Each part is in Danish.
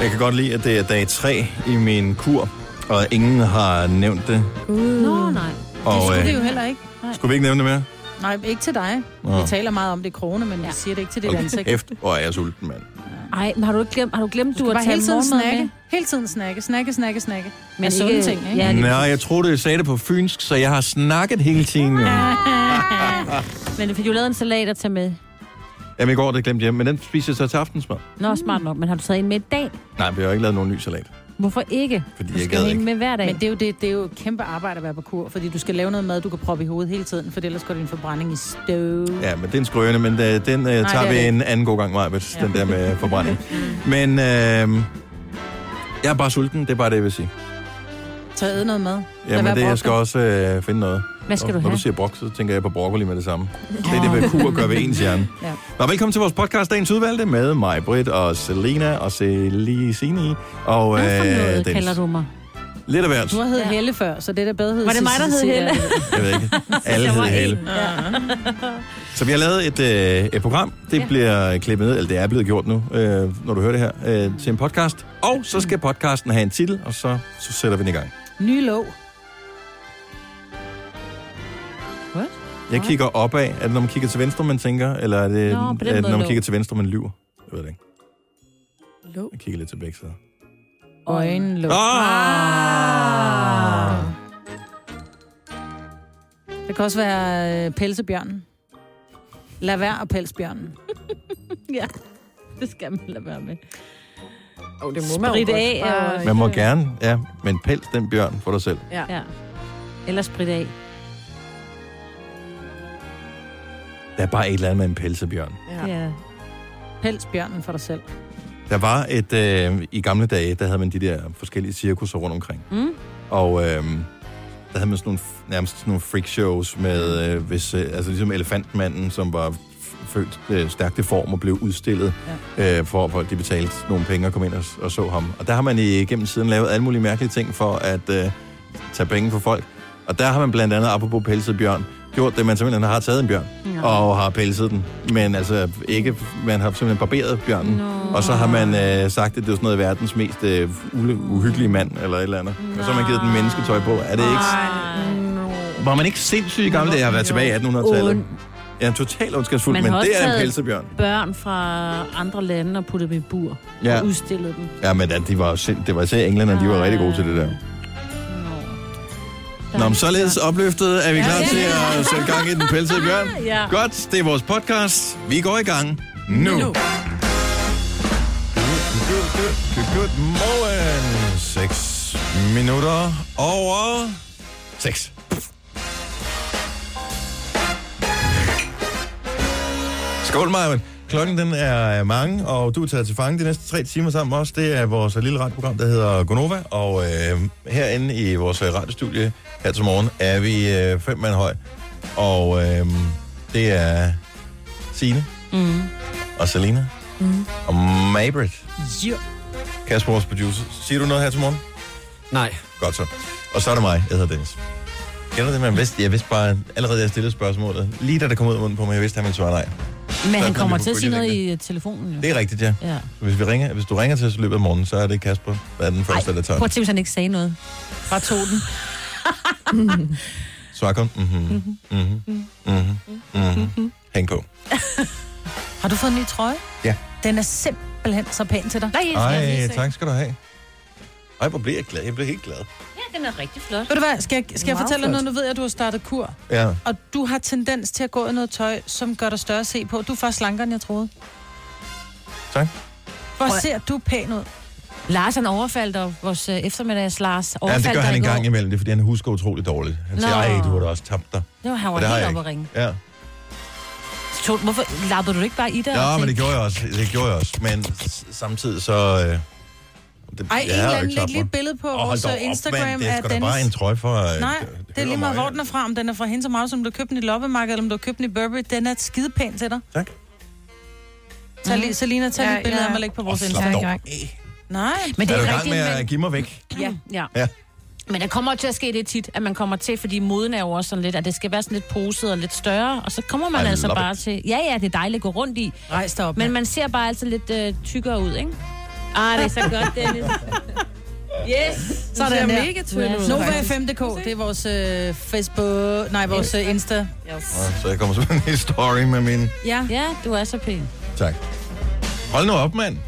Jeg kan godt lide, at det er dag 3 i min kur, og ingen har nævnt det. Mm. Nå, nej. Og, Det skulle øh, det jo heller ikke. Nej. Skulle vi ikke nævne det mere? nej, ikke til dig. Nå. Vi taler meget om det i krone, men vi siger det ikke til dit ansigt. Efter, og jeg er sulten, mand. Ej, men har du ikke glemt, har du, glemt, du, Du har bare taget hele tiden morgenmad snakke. med? Hele tiden snakke, snakke, snakke, snakke. Men Men sunde ikke- ting, ikke? ja. lige Nej, jeg troede, jeg sagde det på fynsk, så jeg har snakket hele tiden. Ja. Men du fik jo lavet en salat at tage med. Jamen, i går det glemte jeg, men den spiser jeg så til aftensmad. Nå, smart nok, men har du taget en med i dag? Nej, vi har ikke lavet nogen ny salat, Hvorfor ikke? fordi Du jeg skal gad jo ikke. en med hver dag. Men det er, jo det, det er jo et kæmpe arbejde at være på kur, fordi du skal lave noget mad, du kan proppe i hovedet hele tiden, for ellers går din forbrænding i støv. Ja. Ja, men det er en skrøne, men øh, den øh, Nej, tager det er vi det en anden god gang, Majbet, ja. den der med forbrænding. Men øh, jeg er bare sulten, det er bare det, jeg vil sige. Så æd noget mad. Lad Jamen, være det, jeg brokken. skal også øh, finde noget. Hvad skal Og du Når have? du siger brok, så tænker jeg på broccoli med det samme. Det er det, hvad kur gør ved ens hjerne. Ja. Nå, velkommen til vores podcast, dagens udvalgte, med mig, Britt og Selena og Celine og Hvad for øh, noget, kalder Dennis. du mig? Lidt af hvert. Du har hed Ja. Helle før, så det der bedre hed Var det mig, der hed Helle? Jeg ved ikke. Alle hedder Helle. Så vi har lavet et, øh, et program. Det ja. Ja. bliver klippet ned, eller det er blevet gjort nu, øh, når du hører det her, øh, til en podcast. Og så skal podcasten have en titel, og så, så sætter vi den i gang. Ny lov. Jeg kigger opad. Er det, når man kigger til venstre, man tænker? Eller er det, Nå, Nå, på den er det måde når man lå. kigger til venstre, man lyver? Jeg ved det ikke. Lå. Jeg kigger lidt til begge sider. Øjenlåg. Ah! Det kan også være øh, pelsebjørnen. Lad være at pelsbjørnen. Ja, det skal man lade være med. Og det må man Sprit jo godt. af er jo Bare- også- Man må gerne, ja, men pels den bjørn for dig selv. Ja. Eller sprit af. Der er bare et eller andet med en pelsebjørn. Ja. Ja. Ja. Pelsbjørnen for dig selv. Der var et, øh, i gamle dage, der havde man de der forskellige cirkusser rundt omkring. Mm. Og øh, der havde man sådan nogle, nærmest sådan nogle freak shows med, øh, hvis, øh, altså ligesom elefantmanden, som var f- født øh, stærkt i form og blev udstillet, ja. øh, for at folk de betalte nogle penge og kom ind og, og så ham. Og der har man i, gennem tiden lavet alle mulige mærkelige ting for at øh, tage penge fra folk. Og der har man blandt andet, apropos pelset bjørn, gjort det, man simpelthen har taget en bjørn Nå. og har pelset den. Men altså ikke, man har simpelthen barberet bjørnen. Nå. Og så har man øh, sagt, at det er sådan noget verdens mest øh, ule- uhyggelige mand, eller et eller andet. Og så har man givet den mennesketøj på. Er det ikke... Var man ikke sindssyg i gamle dage? Jeg har været tilbage i 1800-tallet. Und- Ja, totalt ondskabsfuld, Man men har også det er en taget- pelsebjørn. Børn fra andre lande og puttet dem i bur. Ja. Og udstillet dem. Ja, men ja, de var jo sind... det var især englænderne, de var rigtig gode til det der. Nå. Nå, men således opløftet er vi klar Ja. til at sætte gang i den pelsede bjørn. Ja. Godt, det er vores podcast. Vi går i gang nu. Nu. Godmorgen. 6 minutter over 6. Skål, Marvin. Klokken den er mange, og du er taget til fange de næste tre timer sammen med os. Det er vores lille radioprogram, der hedder Gonova. Og øh, herinde i vores øh, radiostudie her til morgen er vi øh, fem mand høj. Og øh, det er Signe Mm. og Selina Mhm. og Mabrit. Ja. Kasper, vores producer. Siger du noget her til morgen? Nej. Godt så. Og så er det mig. Jeg hedder Dennis. Kender du det, man vidste? Jeg vidste bare, allerede da jeg stillede spørgsmålet. Lige da det kom ud af munden på mig, jeg vidste, at han ville svare nej. Men Så han kom kommer vi på til at sige noget bølgelængde. i øh, telefonen, jo. Det er rigtigt, ja. Ja. Hvis, vi ringer, hvis du ringer til os i løbet af morgenen, så er det Kasper, der er den første, der tager. Prøv den. at tænke, hvis han ikke sagde noget. Bare tog den. Så er kun, mhm, mhm, mhm, mhm. Hæng på. Har du fået en ny trøje? Ja. Den er simpelthen så pæn til dig. Nej, jeg skal Ej, lige se. tak skal du have. Ej, hvor bliver jeg glad. Jeg bliver helt glad. Ja, den er rigtig flot. Ved du hvad, skal jeg, skal jeg Meget fortælle dig flot. noget? Nu ved jeg, at du har startet kur, Ja. og du har tendens til at gå i noget tøj, som gør dig større at se på. Du er faktisk slankere, end jeg troede. Tak. Hvor Prøv- ser du pæn ud? Lars, han overfaldt dig. Vores øh, eftermiddags Lars Ja, overfaldt det gør dig han i en går. gang imellem. Det er, fordi han husker utroligt dårligt. Han siger, Nå. ej, du har da også tabt dig. Det var, han var Og det har helt jeg oppe at ikke. ringe. Ja. Så, hvorfor lappede du ikke bare i dig? Ja, og men det tænkte, gjorde jeg også. Det gjorde jeg også. Men s- samtidig så... Øh, det, Ej, jeg en er jo eller anden, ikke læg tabt lige mig. et billede på Åh, hold vores dog op, øh, Instagram mand. Det er af sgu da bare en Dennis. trøje for... Øh, Nej, det er lige meget, hvor den er er. fra, om den er fra hende så meget, som du købte den i loppemarkedet, eller om du købte den i Burberry. Den er skidepæn til dig. Tak. Mm. Tag Mhm. lige, Selina, tag Ja, lige et billede ja. af mig og læg på Og vores slap Instagram. dog gang. af. Nej, Men det Er er, du i gang rigtigt, med at men... give mig væk? Ja, ja. Ja. Men der kommer til at ske det tit, at man kommer til, fordi moden er jo også sådan lidt, at det skal være sådan lidt poset og lidt større, og så kommer man I altså love bare it. til... Ja, ja, det er dejligt at gå rundt i, rejs dig op. men Men, man ser bare altid lidt øh, tykkere ud, ikke? Ah, det er så godt, Dennis. Yes! Sådan ser der. mega tynd ud, Nova faktisk. 5.dk, det er vores øh, Facebook... Nej, vores øh, Insta. Nå, så jeg kommer sådan en story med min... Ja. Ja, du er så pæn. Tak. Hold nu op, mand.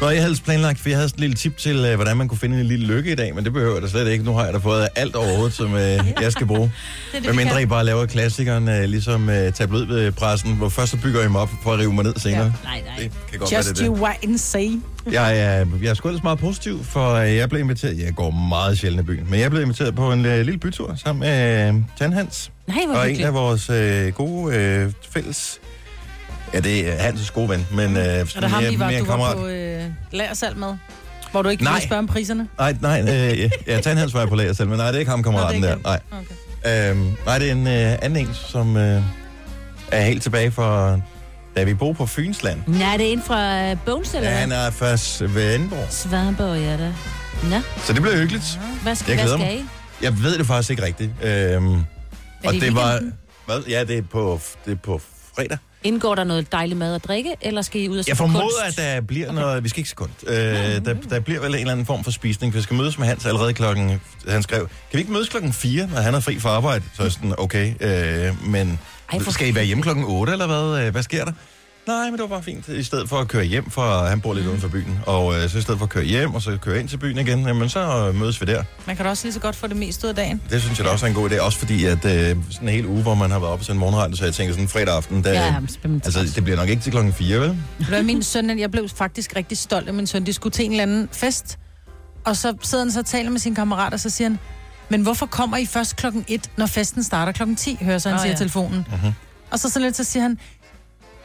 Nå, jeg havde ellers planlagt, for jeg havde sådan en lille tip til, øh, hvordan man kunne finde en lille lykke i dag, men det behøver jeg da slet ikke. Nu har jeg da fået alt overhovedet, som øh, jeg skal bruge. er det, Hvad vi mindre kan. I bare laver klassikeren, øh, ligesom øh, tabloidpressen, hvor først så bygger I mig op for at rive mig ned senere. Nej, nej. Det kan godt være, Just det er you det. wait and see. Jeg er, jeg er sgu ellers meget positiv, for øh, jeg blev inviteret, jeg går meget sjældent i byen, men jeg blev inviteret på en øh, lille bytur sammen med øh, Tandhans. Nej, hvor Og en hyggeligt. af vores øh, gode øh, fælles... Ja, det er Hans' gode ven, men øh, er Er det ham, I var, du var på øh, lagersal med? Hvor du ikke Nej. kunne spørge om priserne? Nej, nej, øh, ja, ja, Tandhans var jeg på lager selv, men nej, det er ikke ham, kammeraten Nå, det er der. ikke Nej. Okay. Øhm, nej, det er en øh, anden en, som øh, er helt tilbage fra, da vi boede på Fynsland. Nej, det er en fra øh, Bones, eller Ja, hvad? han er først ved Anborg. Svamborg, ja da. Nå, Så det blev hyggeligt. hvad skal, Jeg hvad glæder skal I? Jeg ved det faktisk ikke rigtigt. Øhm, og i det var... weekenden? Hvad? Ja, det er på, det er på fredag. Indgår der noget dejlig mad og drikke, eller skal I ud og se Jeg på formoder, at øh, kunst? der bliver noget... Vi skal ikke sekund. Øh, der, der bliver vel en eller anden form for spisning. Vi skal mødes med Hans allerede klokken... Han skrev, kan vi ikke mødes klokken 4, når han er fri fra arbejde? Så er jeg sådan, okay, øh, men Ej, for- skal I være hjemme klokken 8, eller hvad? Øh, Hvad sker der? Nej, men det var bare fint. I stedet for at køre hjem, for han bor lidt Mm. uden for byen, og øh, så i stedet for at køre hjem, og så køre ind til byen igen, jamen så øh, mødes vi der. Man kan da også lige så godt få det meste ud af dagen. Det synes jeg da også er en god idé, også fordi at øh, sådan en hel uge, hvor man har været oppe til en morgenradio, så jeg tænker sådan fredag aften, der, Ja, ja, jamen, spændende. altså det bliver nok ikke til klokken 4, vel? Ved du Hvad min søn, jeg blev faktisk rigtig stolt af min søn. De skulle til en eller anden fest, og så sidder han så og taler med sine kammerater, og så siger han, men hvorfor kommer I først klokken 1, når festen starter klokken 10, hører så han Nå, oh, siger ja. ja. telefonen. Mhm. Og så sådan lidt, så siger han,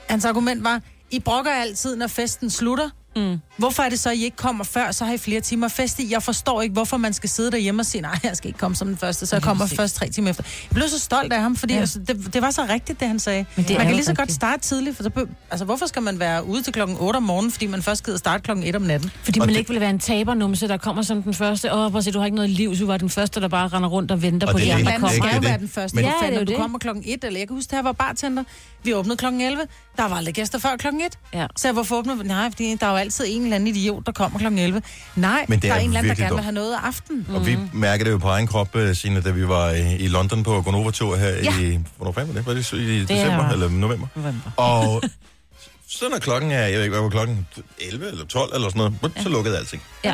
hans argument var, I brokker altid, når festen slutter. Mm. Hvorfor er det så, at I ikke kommer før, så har I flere timer fest i? Jeg forstår ikke, hvorfor man skal sidde derhjemme og sige, nej, jeg skal ikke komme som den første, så jeg Lige kommer præcis. først tre timer efter. Jeg blev så stolt af ham, fordi Ja. ja. altså, det, det, var så rigtigt, det han sagde. Men det man er kan jo lige så godt rigtigt. starte tidligt, for så be, altså, hvorfor skal man være ude til klokken 8 om morgenen, fordi man først gider starte klokken 1 om natten? Fordi Og man det- ikke vil være en tabernumse, der kommer som den første. Åh, prøv at se, du har ikke noget liv, så du var den første, der bare render rundt og venter Og på det de er andre, lidt- der kommer. Man det skal er jo det. være den første. Men- Men, Ja, ja, det er jo du det. kommer klokken 1, eller jeg kan huske, det her var bartender. Vi åbnede klokken 11. Der var aldrig gæster før klokken 1. Ja. Så jeg, hvorfor åbner vi? Nej, fordi der er jo altid en eller anden idiot, der kommer klokken 11. Nej, Men det der er er en eller anden, der virkelig gerne vil dumt. have noget af aftenen. Og Mm-hmm. vi mærkede det jo på egen krop, øh, Signe, da vi var i, i London på Gonova-tur her ja. i... Hvornår fanden var det? Var det i- i december var- eller november? November. Og så når klokken er, jeg ved ikke, hvad var klokken? 11 eller 12 eller sådan noget, bup, så lukkede alting. Ja.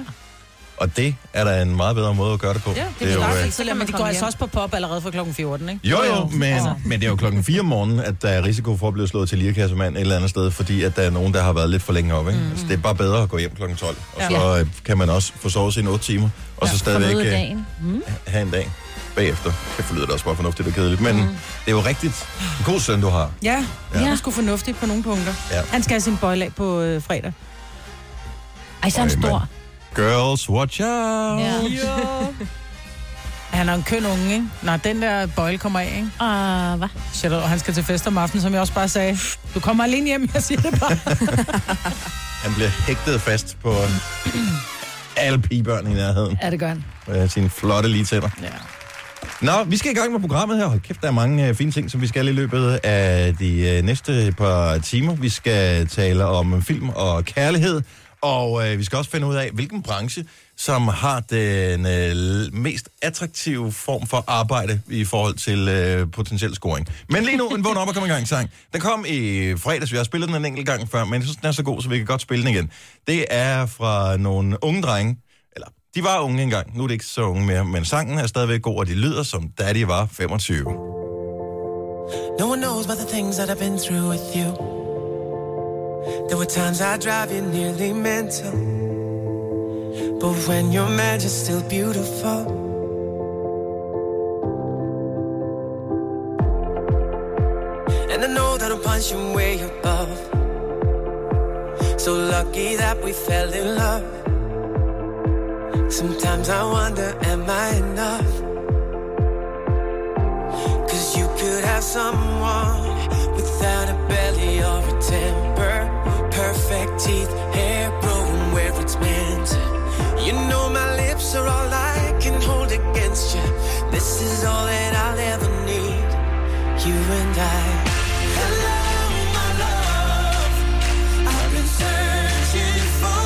Og det er da en meget bedre måde at gøre det på. Ja, Det, det er jo øh, klart, så lader man Så kan man de går komme altså hjem. også på pop allerede fra klokken 14, ikke? Altså, Jo, jo, men, men det er jo klokken 4 om morgenen, at der er risiko for at blive slået til lirekassemand et eller andet sted, fordi at der er nogen, der har været lidt for længe oppe. Ikke? Altså, det er bare bedre at gå hjem klokken 12, og Mm. Ja. så øh, kan man også få sovet sine 8 timer, og så stadigvæk Forlød øh, dagen. Mm. have en dag bagefter. Det forlyder det også bare fornuftigt og kedeligt, men mm. det er jo rigtigt. En god søn, du har. Ja, Ja. ja. han skulle fornuftigt på nogle punkter. Ja. Ja. Han skal have sin bøjlag på øh, fredag. Ej, så er han Øj, stor. mand. Girls, watch out! Ja. Han er en køn unge, ikke? Når den der bøjle kommer af, ikke? Og Ah, hvad? Shit, og han skal til fest om aftenen, som jeg også bare sagde. Du kommer alene hjem, jeg siger det bare. Han bliver hægtet fast på alle pigebørn i nærheden ja, det gør han. med Øh, sine flotte lige tænder. Ja. Nå, vi skal i gang med programmet her. Hold kæft, der er mange øh, fine ting, som vi skal i løbet af de øh, næste par timer. Vi skal tale om øh, film og kærlighed, og øh, vi skal også finde ud af, hvilken branche, som har den øh, l- mest attraktive form for arbejde i forhold til øh, potentiel scoring. Men lige nu, en vågen op og kom i gang sang. Den kom i fredags, vi har spillet den en enkelt gang før, men jeg synes, den er så god, så vi kan godt spille den igen. Det er fra nogle unge drenge, eller de var unge engang, nu er det ikke så unge mere, men sangen er stadigvæk god, og de lyder som da de var 25. No one knows about the things that I've been through with you. There were times I drive you nearly mental. But when you're mad, you're still beautiful. And I know that I'm punching way above. So lucky that we fell in love. Sometimes I wonder, am I enough? Cause you could have someone without a belly or a temper. Perfect teeth, hair grown where it's meant. You know my lips are all I can hold against you. This is all that I'll ever need. You and I. Hello, my love. I've been searching for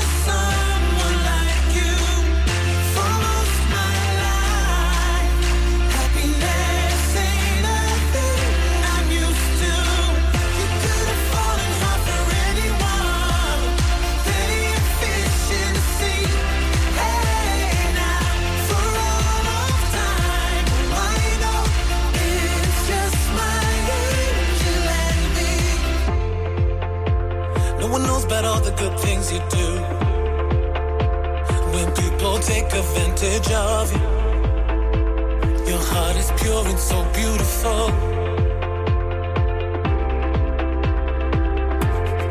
mouth about all the good things you do. When people take advantage of you, your heart is pure and so beautiful.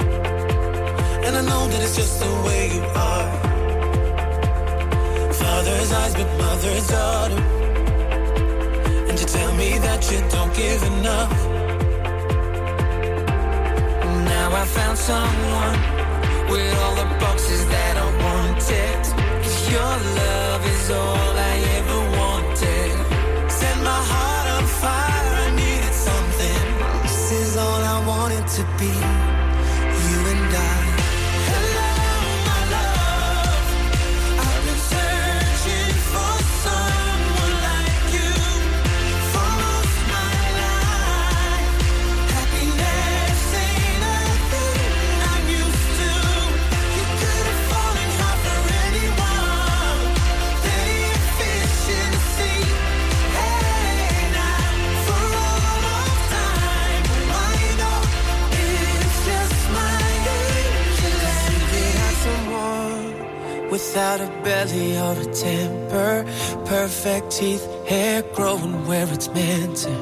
And I know that it's just the way you are. Father's eyes, but mother's daughter. And you tell me that you don't give enough. Now I found someone with all the boxes that I wanted. 'Cause your love is all I ever wanted. Set my heart on fire, I needed something. This is all I wanted to be. You and I. Hello, my love. I've been searching for someone like you for most my life. Happiness ain't a thing I'm used to. You could have fallen hard for anyone. Plenty of fish in the sea. Hey, now for all of time. I know it's just my angel and someone without a belly or a temper. Perfect teeth, hair growing where it's meant to.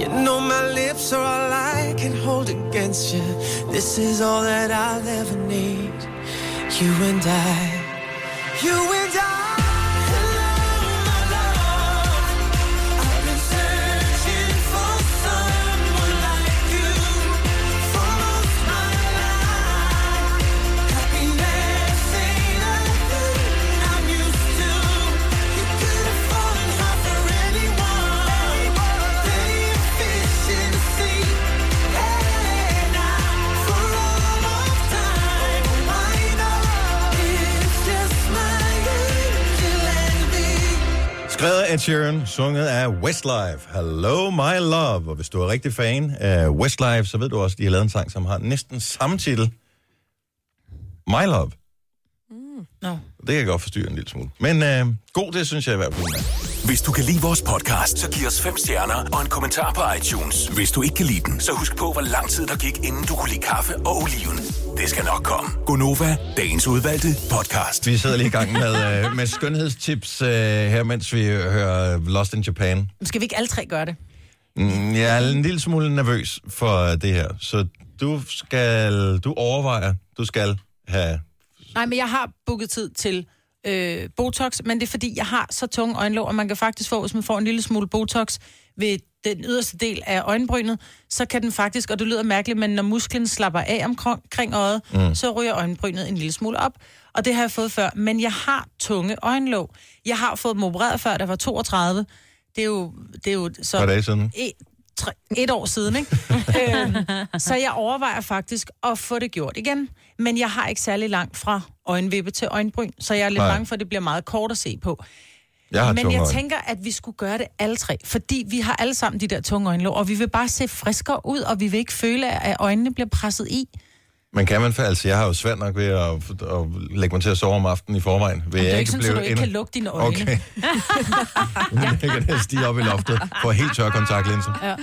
You know my lips are all I can hold against you. This is all that I'll ever need. You and I. You and I. Hello, my love. I've been searching for someone like you for most my life. Happiness ain't a thing I'm used to. You could have fallen hard for anyone. Plenty of fish in the sea. Hey, now for all of time. I know it's just my angel and me. Skrevet af Ed Sheeran, sunget af Westlife. Hello, my love. Og hvis du er rigtig fan af Westlife, så ved du også, at de har lavet en sang, som har næsten samme titel. My love. Nå. Det kan godt forstyrre en lille smule. Men øh, god, det synes jeg i hvert fald. hun er. Hvis du kan lide vores podcast, så giv os fem stjerner og en kommentar på iTunes. Hvis du ikke kan lide den, så husk på, hvor lang tid der gik, inden du kunne lide kaffe og oliven. Det skal nok komme. Gonova, dagens udvalgte podcast. Vi sidder lige i gang med, øh, med skønhedstips øh, her, mens vi hører Lost in Japan. Skal vi ikke alle tre gøre det? Mm, Jeg er en lille smule nervøs for det her, så du skal, du overvejer, du skal have... Nej, men jeg har booket tid til øh, Botox, men det er fordi, jeg har så tunge øjenlåg, og man kan faktisk få, hvis man får en lille smule Botox ved den yderste del af øjenbrynet, så kan den faktisk, og det lyder mærkeligt, men når musklen slapper af omkring omkring øjet, mm. så ryger øjenbrynet en lille smule op. Og det har jeg fået før, men jeg har tunge øjenlåg. Jeg har fået dem opereret før, der var 32. Det er jo, det er jo så... E- Hvad er det sådan? et, tre, et år siden, ikke? øhm, så jeg overvejer faktisk at få det gjort igen. Men jeg har ikke særlig langt fra øjenvippe til øjenbryn, så jeg er lidt Nej. Nej. bange for, at det bliver meget kort at se på. Jeg har Men tunge jeg øjne. tænker, at vi skulle gøre det alle tre, fordi vi har alle sammen de der tunge øjenlåg, og vi vil bare se friskere ud, og vi vil ikke føle, at øjnene bliver presset i. Men kan man fa- altså, jeg har jo svært nok ved at, at lægge mig til at sove om aftenen i forvejen. Vil Det er jeg jo ikke sådan, at blive du ikke endnu- kan lukke dine øjne. Okay. jeg kan da stige op i loftet for helt tør kontaktlinser.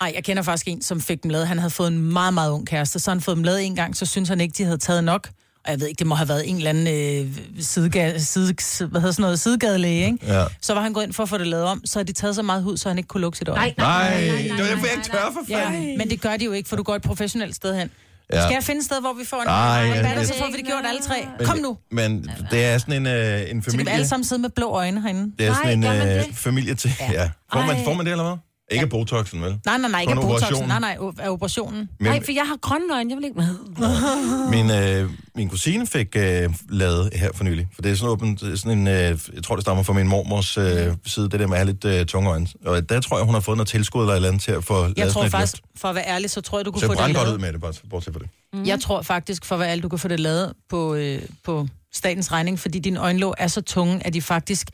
Nej, jeg kender faktisk en, som fik dem lavet. Han havde fået en meget, meget ung kæreste. Så han fået dem lavet en gang, så synes han ikke, de havde taget nok. Og jeg ved ikke, det må have været en eller anden øh, sidega, side, side- hvad hedder sådan noget, sidegadelæge, ikke? Ja. Så var han gået ind for at få det lavet om, så havde de taget så meget hud, så han ikke kunne lukke sit øje. Nej, det var derfor, jeg ikke tør for Ja, fanden. men det gør de jo ikke, for du går et professionelt sted hen. Ja. Ja. Skal jeg finde et sted, hvor vi får en Nej, Ej, ja, batter, det- så får vi det gjort alle tre. Men- Kom nu. Men det er sådan en, øh, en Så kan vi familie... alle sammen sidde med blå øjne herinde. Det er sådan Nej, gør en man øh, det? familie til... Ja. ja. Får, man, får man det, eller hvad? Ikke ja. Botoxen, vel? Nej, nej, nej, ikke af Kun botoxen. operationen. Nej, nej, af operationen. Men Nej, for jeg har grønne øjne, jeg vil ikke med. min, øh, min kusine fik øh, lavet her for nylig. For det er sådan, åbent, sådan en... Øh, jeg tror, det stammer fra min mormors øh, side, det der med at have lidt øh, tunge øjne. Og der tror jeg, hun har fået noget tilskud eller et eller andet til at få lavet Jeg sådan tror et faktisk, løft. for at være ærlig, så tror jeg, du kunne Så få jeg det brændte godt lavet. ud med det, bare bortset fra det. Mm. Mhm. Jeg tror faktisk, for hvad alt du kan få det lavet på, øh, på statens regning, fordi dine øjenlåg er så tunge, at de faktisk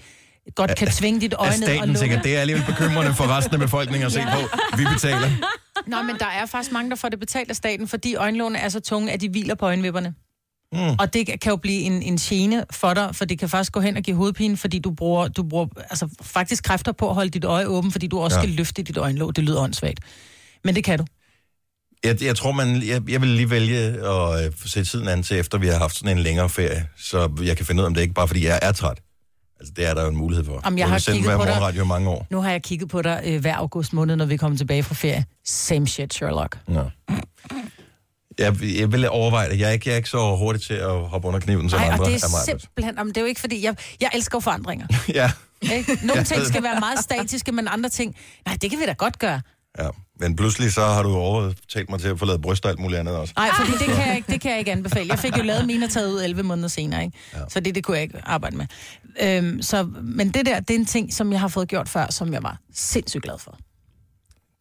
godt kan tvinge dit øje At ned og staten lukke. tænker, det er alligevel bekymrende for resten af befolkningen at se på. Vi betaler. Nå, men der er faktisk mange, der får det betalt af staten, fordi øjenlågene er så tunge, at de hviler på øjenvipperne. Mm. Og det kan jo blive en, en gene for dig, for det kan faktisk gå hen og give hovedpine, fordi du bruger, du bruger altså, faktisk kræfter på at holde dit øje åbent, fordi du også Ja. ja. skal løfte dit øjenlåg. Det lyder åndssvagt. Men det kan du. Jeg, jeg tror, man, jeg, jeg vil lige vælge at øh, sætte tiden an til, efter vi har haft sådan en længere ferie, så jeg kan finde ud af, om det ikke bare fordi, jeg er træt. Altså, det er der jo en mulighed for. Jamen, jeg har sendt kigget hver på dig. morgenradio i mange år. Nu har jeg kigget på dig øh, hver august måned, når vi kommer tilbage fra ferie. Same shit, Sherlock. Nå. Jeg, jeg vil overveje det. Jeg er, ikke, jeg er ikke så hurtig til at hoppe under kniven, som Nej, andre og det af er mig. simpelthen... Jamen, det er jo ikke, fordi... Jeg, jeg elsker jo forandringer. Ja, Ikke? Nogle ting skal være meget statiske, men andre ting... Nej, det kan vi da godt gøre. ja. Men pludselig så har du overtalt mig til at få lavet bryst og alt muligt andet også. Nej, fordi det kan, jeg ikke, det kan jeg ikke anbefale. Jeg fik jo lavet mine og taget ud 11 måneder senere, ikke? Ja. Så det, det kunne jeg ikke arbejde med. Øhm, så, men det der, det er en ting, som jeg har fået gjort før, som jeg var sindssygt glad for.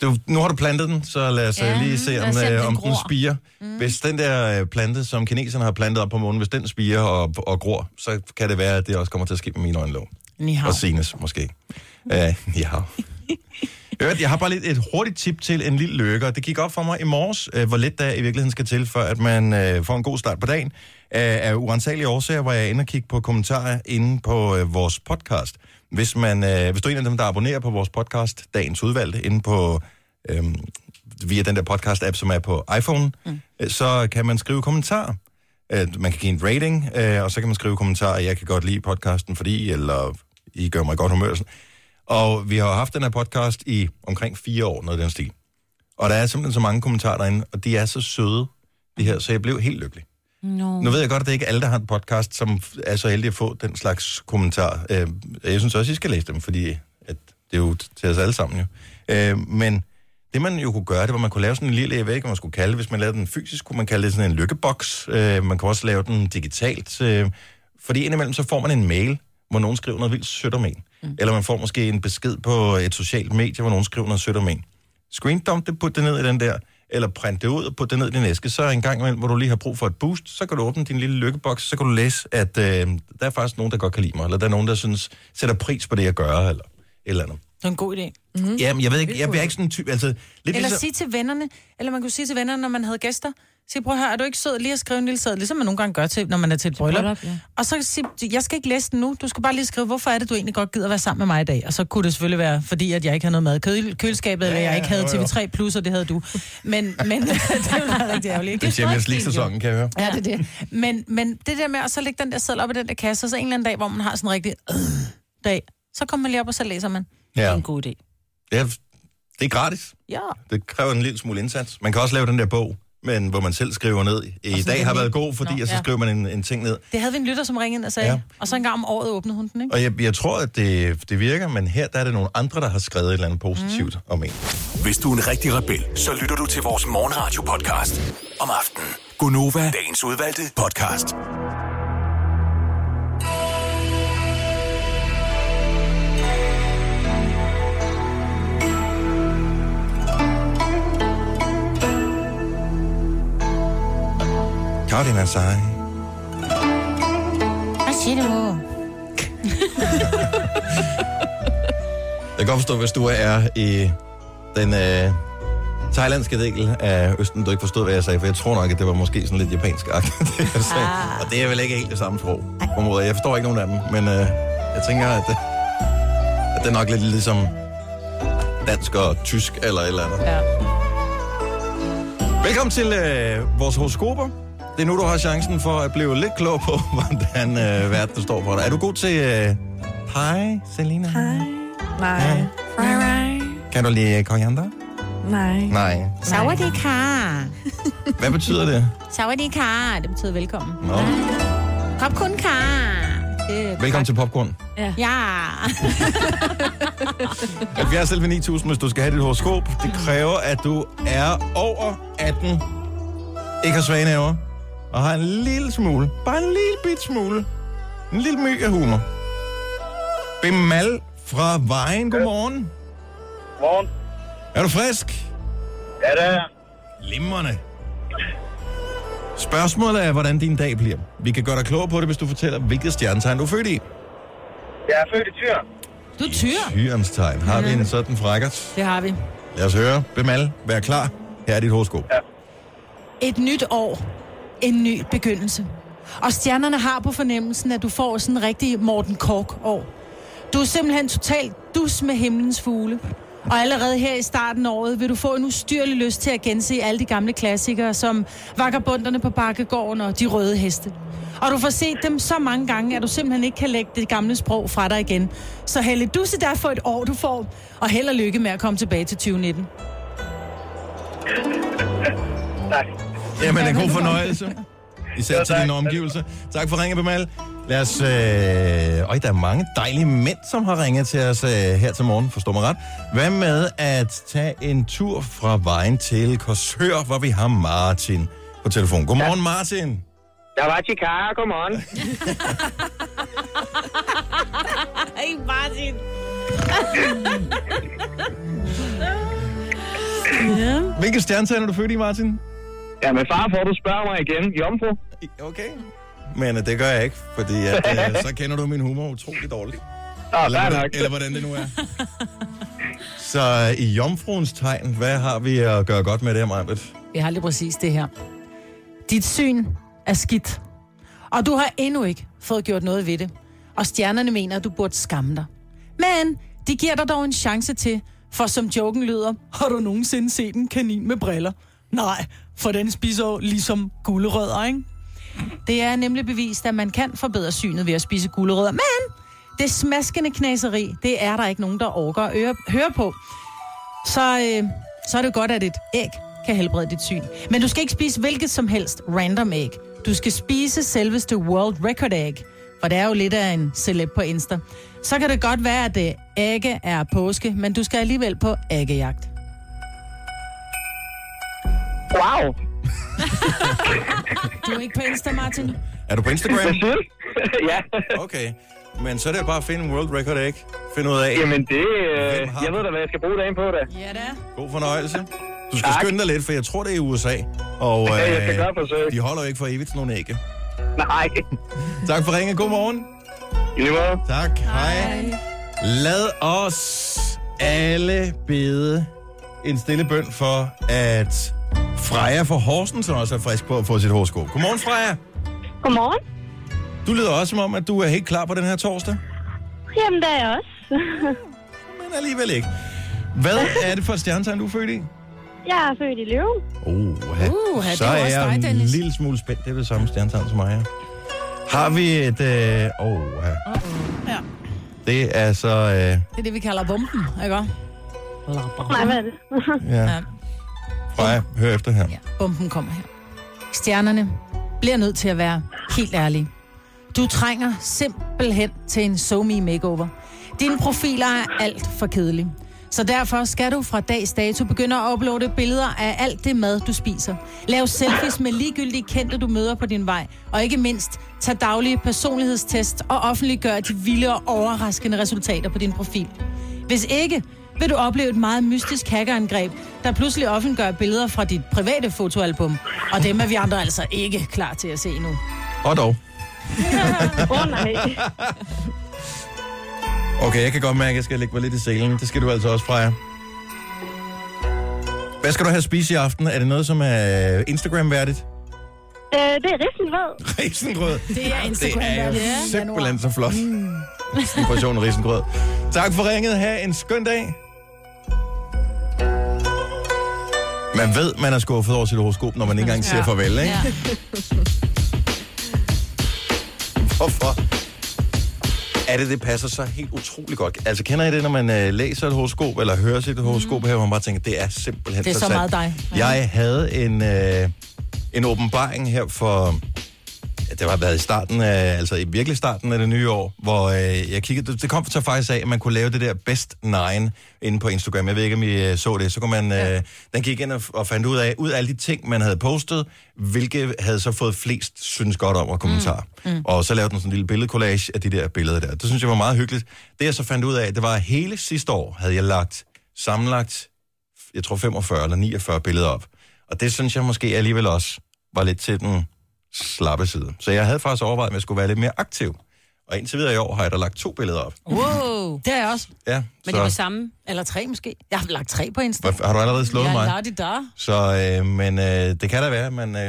Du, nu har du plantet den, så lad os ja, Ja, lige se, lad om, os se, om øh, den om den gror. spiger. Mm. Hvis den der øh, plante, som kineserne har plantet op på månen, hvis den spiger og, og gror, så kan det være, at det også kommer til at ske med mine øjenlåg. Ni hao. Og Sines, måske. Uh, ja. Hørt, jeg har bare lidt et hurtigt tip til en lille lykker. Det gik op for mig i morges, øh, hvor lidt der i virkeligheden skal til, for at man øh, får en god start på dagen. Øh, af uansagelige årsager var jeg inde og kigge på kommentarer inde på øh, vores podcast. Hvis, man, øh, hvis du er en af dem, der abonnerer på vores podcast, Dagens Udvalgte, inde på øh, via den der podcast-app, som er på iPhone, mm. øh, så kan man skrive kommentarer. Øh, man kan give en rating, øh, og så kan man skrive kommentarer, jeg kan godt lide podcasten, fordi, eller I gør mig i godt humør. og Sådan. Og vi har jo haft den her podcast i omkring fire år, noget i den stil. Og der er simpelthen så mange kommentarer derinde, og de er så søde, de her, så jeg blev helt lykkelig. No. Nu ved jeg godt, at det ikke er alle, der har en podcast, som er så heldige at få den slags kommentar. Øh, Jeg synes også, I skal læse dem, fordi at det er jo til os alle sammen jo. Øh, Men det, man jo kunne gøre, det var, at man kunne lave sådan en lille, jeg ved ikke, hvad man skulle kalde det. Hvis man lavede den fysisk, kunne man kalde det sådan en lykkeboks. Øh, Man kunne også lave den digitalt. øh, Fordi indimellem så får man en mail, hvor nogen skriver noget vildt sødt om en. Eller man får måske en besked på et socialt medie, hvor nogen skriver noget sødt om en screendump det, put det ned i den der, eller print det ud og put det ned i din æske. Så en gang imellem, hvor du lige har brug for et boost, så kan du åbne din lille lykkeboks, så kan du læse, at øh, der er faktisk nogen, der godt kan lide mig, eller der er nogen, der synes, sætter pris på det, jeg gør, eller et eller andet. Det er en god idé. Mm. Jamen, jeg ved ikke, jeg bliver ikke sådan en type, altså... Lidt Eller ligesom, sige til vennerne, eller man kunne sige til vennerne, når man havde gæster, sige, prøv at høre, er du ikke sød lige at skrive en lille sæd, ligesom man nogle gange gør til, når man er til et bryllup. bryllup, ja. Og så sige, jeg skal ikke læse den nu, du skal bare lige skrive, hvorfor er det, du egentlig godt gider være sammen med mig i dag? Og så kunne det selvfølgelig være, fordi at jeg ikke havde noget mad i køl- køleskabet, ja, eller ja, jeg ikke havde jo, jo. TV3+, plus, og det havde du. Men, men det var rigtig ærgerligt. det er Champions League-sæsonen, kan jeg høre. Ja, det er det. Men, men det der med at så lægge den der sædel op i den der kasse, og så en eller anden dag, hvor man har sådan en rigtig øh, dag, så kommer man lige op, og så læser man. Det er Ja, en god idé. det er, det er gratis. Ja. Det kræver en lille smule indsats. Man kan også lave den der bog, men hvor man selv skriver ned. I dag den har lige- været god, fordi, Nå, og så ja. skriver man en, en ting ned. Det havde vi en lytter, som ringede ind og sagde, Ja. ja. og så en gang om året åbnede hun den, ikke? Og jeg, jeg tror, at det, det virker, men her der er det nogle andre, der har skrevet et eller andet positivt mm. om en. Hvis du er en rigtig rebel, så lytter du til vores morgenradio-podcast om aftenen. Gunova, dagens udvalgte podcast. Karolina Sej. Hvad siger du? Jeg kan godt forstå, hvis du er i den øh, thailandske del af Østen, du ikke forstod, hvad jeg sagde, for jeg tror nok, at det var måske sådan lidt japansk agtigt, det jeg sagde. Ah. Og det er vel ikke helt det samme sprog. På en måde. Jeg forstår ikke nogen af dem, men øh, jeg tænker, at det, at det er nok lidt ligesom dansk og tysk eller et eller andet. Ja. Velkommen til øh, vores horoskoper. Det er nu, du har chancen for at blive lidt klog på, hvordan øh, verden står for dig. Er du god til øh, pie, Selina? Pie. Nej. Nej, nej. Kan du lide koriander? Nej. Nej. Sawadika. Hvad betyder det? Sawadika. Det betyder velkommen. Nå. Kom kun ka. Det- Velkommen til Popcorn. Ja. 70 selv 9000, hvis du skal have dit horoskop. Det kræver, at du er over 18, ikke har svage næver, og har en lille smule, bare en lille bit smule, en lille myg af humor. Bemal fra Vejen, godmorgen. Morgen. Er du frisk? Ja, det er jeg. Limrende. Spørgsmålet er, hvordan din dag bliver. Vi kan gøre dig klogere på det, hvis du fortæller, hvilket stjernetegn du er født i. Jeg er født i Tyren. Du er tyr. Hyrens tegn. Har vi en sådan frækkert? Det har vi. Lad os høre. Bemal, vær klar. Her er dit horoskop. Et nyt år. En ny begyndelse. Og stjernerne har på fornemmelsen, at du får sådan en rigtig Morten Kork-år. Du er simpelthen totalt dus med himlens fugle. Og allerede her i starten af året vil du få en ustyrlig lyst til at gense alle de gamle klassikere, som Vagabunderne på Bakkegården og De Røde Heste. Og du får set dem så mange gange, at du simpelthen ikke kan lægge det gamle sprog fra dig igen. Så Helle Dusse der for et år, du får, og held og lykke med at komme tilbage til 2019. Tak. Jamen, en god fornøjelse. Især Jo, til tak. dine omgivelser. Tak for ringet, Bemal. Lad os... Øh... Øj, der er mange dejlige mænd, som har ringet til os øh, her til morgen, forstår mig ret. Hvad med at tage en tur fra vejen til Korsør, hvor vi har Martin på telefon. Godmorgen, Martin. Der var Chicago, godmorgen. Ej, Martin. Hvilke stjernetegn er du født i, Martin? Ja, men far, får du spørger mig igen. Jomfru? Okay. Men øh, det gør jeg ikke, fordi at, øh, så kender du min humor utrolig dårligt. Nå, der Eller, er hvordan, nok. eller hvordan det nu er. Så øh, i jomfruens tegn, hvad har vi at gøre godt med det her, Majbet? Vi har lige præcis det her. Dit syn er skidt, og du har endnu ikke fået gjort noget ved det. Og stjernerne mener, at du burde skamme dig. Men de giver dig dog en chance til, for som joken lyder, har du nogensinde set en kanin med briller? Nej, for den spiser jo ligesom gulerødder, ikke? Det er nemlig bevist, at man kan forbedre synet ved at spise gulerødder, men det smaskende knaseri, det er der ikke nogen, der orker at øre- høre på så, øh, så er det godt, at et æg kan helbrede dit syn. Men du skal ikke spise hvilket som helst random æg. Du skal spise selveste World Record æg, for det er jo lidt af en celeb på Insta. Så kan det godt være, at øh, ægge er påske, men du skal alligevel på æggejagt. Wow. Du er ikke på Insta, Martin? Er du på Instagram? Hvad siger du? ja. Okay. Men så er det bare at finde en world record, ikke? Find ud af. Jamen, det... Øh, Hvem har jeg ved den? da, hvad jeg skal bruge dagen på, da. Ja, da. God fornøjelse. Du skal Tak. skynde dig lidt, for jeg tror, det er i USA. Og øh, Ja, jeg skal gøre et forsøg. de holder jo ikke for evigt sådan nogle ægge. Nej. Tak for ringen. God morgen. I lige måde. Tak. Hej. Lad os alle bede en stille bøn for, at Freja fra Horsens også er frisk på at få sit horoskop. Godmorgen, Freja. Godmorgen. Du lyder også som om, at du er helt klar på den her torsdag, Jamen, det er jeg også. men alligevel ikke. Hvad er det for et stjernetegn, du er født i? jeg er født i Løven. Uha. Uha, så det er er også jeg dig, en Dennis. lille smule spændt. Det er det samme stjernetegn som mig. ja. Har vi et... Øh, oh, ja. Ja. Det er så... Øh, Det er det, vi kalder bomben, ikke også? Nej, hvad er det? ja. Freja, hør efter her. Bomben kommer her. Stjernerne bliver nødt til at være helt ærlige. Du trænger simpelthen til en somi makeover. Dine profiler er alt for kedelige. Så derfor skal du fra dags dato begynde at uploade billeder af alt det mad, du spiser. Lav selfies med ligegyldige kendte, du møder på din vej. Og ikke mindst, tag daglige personlighedstest og offentliggør de vilde og overraskende resultater på din profil. Hvis ikke, vil du opleve et meget mystisk hackerangreb, der pludselig offentliggør billeder fra dit private fotoalbum. Og dem er vi andre altså ikke klar til at se endnu. Og dog. Åh, oh, nej. Okay, jeg kan godt mærke, at jeg skal lægge mig lidt i selen. Det skal du altså også, Freja. Hvad skal du have at spise i aften? Er det noget, som er Instagram-værdigt? Øh, det er risengrød. Risengrød. Det er Det er jo simpelthen så flot. Mm. en portion risengrød. Tak for ringet. Ha' en skøn dag. Man ved, man er skuffet over sit horoskop, når man ikke engang siger farvel, ikke? Ja. Hvorfor? Er det, det passer så helt utrolig godt? Altså, kender I det, når man øh, læser et horoskop, eller hører sit horoskop her, hvor man bare tænker, det er simpelthen Mm. Det er så sandt. meget dig. Jeg havde en, øh, en åbenbaring her for... ja, Det var været i starten af, altså i virkelig starten af det nye år, hvor øh, jeg kiggede, det, det kom så faktisk af, at man kunne lave det der Best 9 inde på Instagram. Jeg ved ikke, om I øh, så det. Så kunne man, øh, den gik ind og, og fandt ud af, ud af alle de ting, man havde postet, hvilke havde så fået flest synes godt om og kommentarer. Mm. Mm. Og så lavede den sådan en lille billedcollage af de der billeder der. Det synes jeg var meget hyggeligt. Det jeg så fandt ud af, det var at hele sidste år havde jeg lagt sammenlagt jeg tror 45 eller 49 billeder op. Og det synes jeg måske alligevel også var lidt til den slappe side. Så jeg havde faktisk overvejet, at jeg skulle være lidt mere aktiv. Og indtil videre i år har jeg da lagt to billeder op. Wow. Det er jeg også. Ja, Men det var så, samme. Eller tre måske. Jeg har lagt tre på Insta. Hvad- har du allerede slået Jeg mig? er der. Så, øh, men øh, det kan da være, at man øh,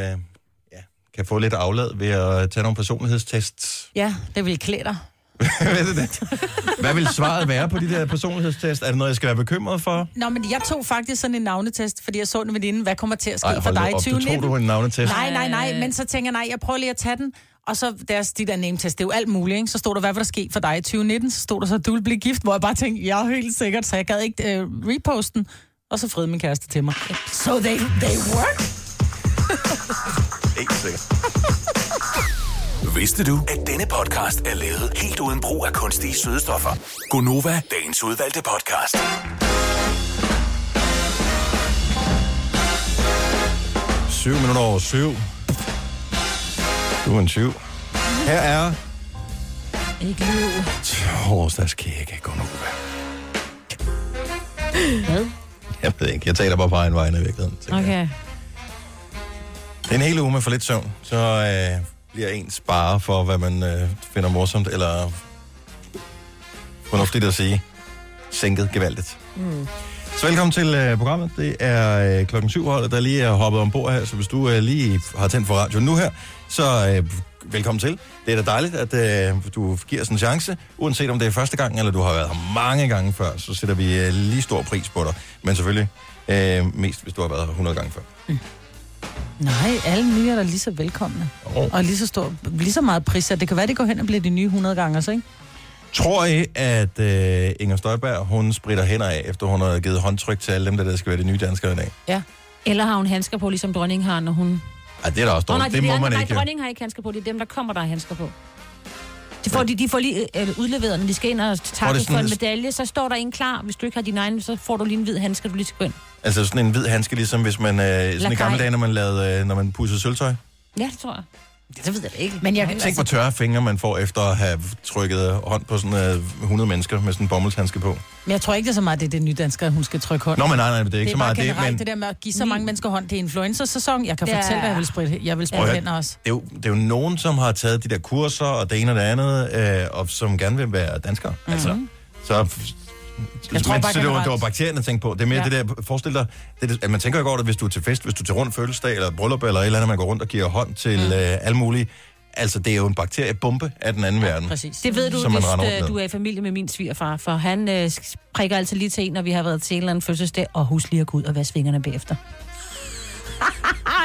ja, kan få lidt aflad ved at tage nogle personlighedstests. Ja, det vil klæde dig. Hvad er det? Hvad vil svaret være på de der personlighedstest? Er det noget, jeg skal være bekymret for? Nå, men jeg tog faktisk sådan en navnetest, fordi jeg så den veninde, hvad kommer til at ske Ej, for hold nu dig i op, du tog 2019? du var en navnetest. Nej, nej, nej, men så tænker jeg, nej, jeg prøver lige at tage den. Og så deres, de der name test, det er jo alt muligt, ikke? Så stod der, hvad vil der ske for dig i 2019? Så stod der så, at du vil blive gift, hvor jeg bare tænkte, jeg er helt sikkert, så jeg gad ikke øh, reposte den. Og så fredede min kæreste til mig. So they, they work? Helt sikkert. Vidste du, at denne podcast er lavet helt uden brug af kunstige sødestoffer? Gonova, dagens udvalgte podcast. Syv minutter over syv. Du er en syv. Her er Ikke løb. torsdags kække. Gå nu, hvad? Hvad? Jeg ved ikke. Jeg taler bare på egen vegne i virkeligheden. tænker jeg. Okay. Det er en hel uge med for lidt søvn, så øh, bliver ens bare for, hvad man øh, finder morsomt eller fornuftigt at sige, sænket gevaldigt. Mm. Så velkommen til øh, programmet. Det er øh, klokken syv holdet, der lige er hoppet ombord her, så hvis du øh, lige har tændt for radioen nu her, så øh, velkommen til. Det er da dejligt, at øh, du giver os en chance, uanset om det er første gang, eller du har været her mange gange før, så sætter vi øh, lige stor pris på dig. Men selvfølgelig øh, mest, hvis du har været her 100 gange før. Nej, alle nye er da lige så velkomne. Oh. Og lige så, stor, lige så meget pris, at det kan være, det går hen og bliver de nye 100 gange, så ikke? Tror I, at øh, Inger Støjberg, hun spritter hænder af, efter hun har givet håndtryk til alle dem, der, der skal være de nye danskere i dag? Eller har hun handsker på, ligesom dronningen har, når hun... Ej, det er da også Nå, dårligt. nej, Oh, det, det må er, man nej, ikke. jo. dronningen har ikke handsker på. Det er dem, der kommer, der har handsker på. De får, de, de får lige øh, øh, udleveret, når de skal ind og takke sådan for en en- medalje, så står der en klar. Hvis du ikke har din egen, så får du lige en hvid handske, du lige skal gå ind. Altså sådan en hvid handske, ligesom hvis man, øh, sådan i Lakaj. gamle dage, når man, lavede, øh, når man pudsede sølvtøj. Ja, det tror jeg. Det ved jeg altså- da ikke. Men jeg kan- Tænk, hvor tørre fingre man får efter at have trykket hånd på sådan øh, 100 mennesker med sådan en bommelshandske på. Men jeg tror ikke, det er så meget, det er det nye danskere, hun skal trykke hånd. Nå, men nej, nej, det er ikke det så er bare meget det, generelt men det der med at give så mange mennesker hånd. Det er influenza-sæson. Jeg kan Ja. fortælle, hvad jeg vil spritte, jeg Prøv vil spritte at- hænder også. det er, jo, det er jo nogen, som har taget de der kurser og det ene og det andet, øh, og som gerne vil være danskere. Mm-hmm. Altså, så, jeg men, tror bare så det, var, generelt- det var bakterierne, jeg tænkte på. Det er mere ja. Ja. det der, forestil dig, det, er det- at man tænker jo godt, at hvis du er til fest, hvis du er til rundt fødselsdag, eller bryllup, eller et eller andet, man går rundt og giver hånd til mm. øh, alle mulige. Altså, det er jo en bakteriebombe af den anden ja, verden. Præcis. Det ved du, Som man hvis render rundt øh, med. du er i familie med min svigerfar, for han øh, sk- prikker altid lige til en, når vi har været til en eller anden fødselsdag, og husk lige at gå ud og vaske fingrene bagefter.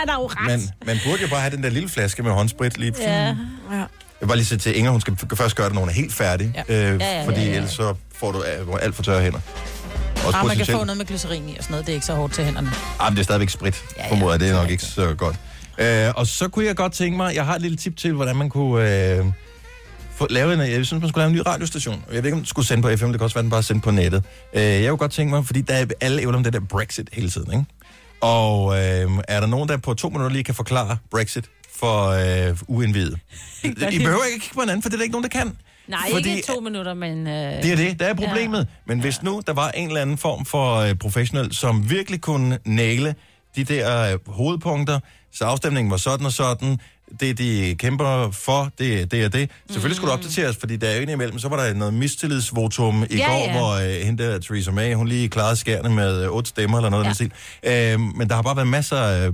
der er jo ret. Man, man burde jo bare have den der lille flaske med håndsprit lige. Ja. Jeg Ja. vil bare lige sige til Inger, hun skal f- først gøre det, når hun er helt færdig. Ja. Øh, ja, ja, ja, fordi ja, ja. ellers så får du øh, alt for tørre hænder. Også Ah, man kan potentielt- få noget med glycerin i og sådan noget. Det er ikke så hårdt til hænderne. Ej, Ah, men det er stadigvæk sprit, ja, ja, formoder jeg. Det er nok ikke så godt. Øh, og så kunne jeg godt tænke mig, jeg har et lille tip til, hvordan man kunne øh, få, lave en, jeg synes, man skulle lave en ny radiostation. Jeg ved ikke, om den skulle sende på FM, det kan også være, den bare sende på nettet. Øh, jeg kunne godt tænke mig, fordi der er alle ævler om det der Brexit hele tiden, ikke? Og øh, er der nogen, der på to minutter lige kan forklare Brexit for øh, uindvidet? I behøver ikke kigge på hinanden, for det er der ikke nogen, der kan. Nej, fordi, ikke to minutter, men... Øh, det er det, der er problemet. Ja. Men hvis nu der var en eller anden form for øh, professionel, som virkelig kunne næle de der øh, hovedpunkter, så afstemningen var sådan og sådan, det de kæmper for, det er det og det. Selvfølgelig skulle det Mm. opdateres, fordi der er jo indimellem, så var der noget mistillidsvotum i Ja, går, ja. hvor øh, hende der, Theresa May, hun lige klarede skærne med øh, otte stemmer eller noget ja. Ja. den stil. Øh, men der har bare været masser af øh,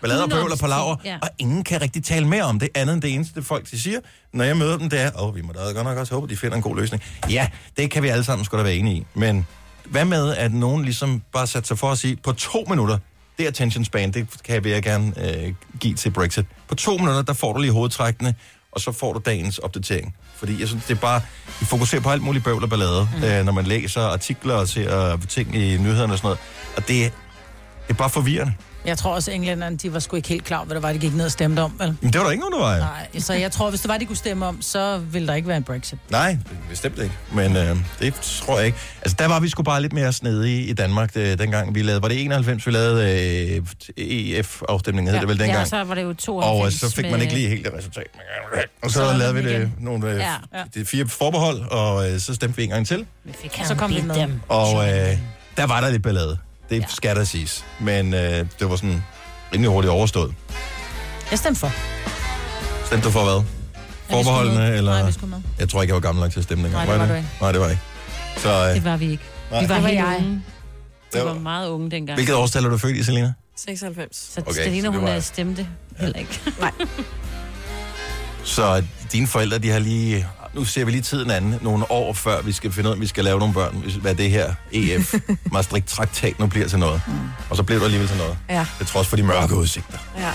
ballader og bøvler på Udenomsting, laver, ja. ja. og ingen kan rigtig tale mere om det, andet end det eneste folk, de siger, når jeg møder dem, det er, åh, oh, vi må da godt nok også håbe, at de finder en god løsning. Ja, det kan vi alle sammen skulle da være enige i, men hvad med, at nogen ligesom bare satte sig for at sige, på to minutter, det er attention span, det kan jeg gerne øh, give til Brexit. På to minutter, der får du lige hovedtrækkene, og så får du dagens opdatering. Fordi jeg synes, det er bare, vi fokuserer på alt muligt bøvl og ballade, mm. øh, når man læser artikler og ser øh, ting i nyhederne og sådan noget. Og det, det er bare forvirrende. Jeg tror også, at englænderne de var sgu ikke helt klar, over, hvad det var, de gik ned og stemte om. Vel? Men det var der ikke nogen, der var jo. Nej, så jeg tror, hvis det var, de kunne stemme om, så ville der ikke være en Brexit. Nej, bestemt ikke. Men øh, det tror jeg ikke. Altså, der var vi sgu bare lidt mere snedige i Danmark, øh, dengang vi lavede... Var det 91, vi lavede øh, EF-afstemningen, hed det vel dengang? Ja, og så var det jo to Og øh, så fik man ikke lige helt det resultat. øh, Og så, Så var så den lavede vi det, igen. nogle øh, Ja. ja. de fire forbehold, og øh, så stemte vi en gang til. Så kom vi med. Dem. Og øh, der var der lidt ballade. Det ja. skal der siges. Men øh, det var sådan rimelig hurtigt overstået. Jeg stemte for. Stemte du for hvad? Forbeholdene? med. Eller? Nej, vi skulle med. Jeg tror ikke, jeg var gammel nok til at stemme dengang. Nej, det var jeg du ikke. Nej, det var jeg ikke. Så, øh, Det var vi ikke. Nej. Vi var, Det var helt jeg. unge. Vi det var meget unge dengang. Hvilket årstal er du født i, Selina? 96. Så Okay, okay, Stelina, så det hun var- øh, stemte heller ikke. Så dine øh, forældre, de har lige Nu ser vi lige tiden anden nogle år før, vi skal finde ud af, om vi skal lave nogle børn, hvis- hvad det her EF, Maastricht-traktat, nu bliver til noget. Mm. Og så blev det alligevel til noget. Ja. Det trods for de mørke udsigter. Ja.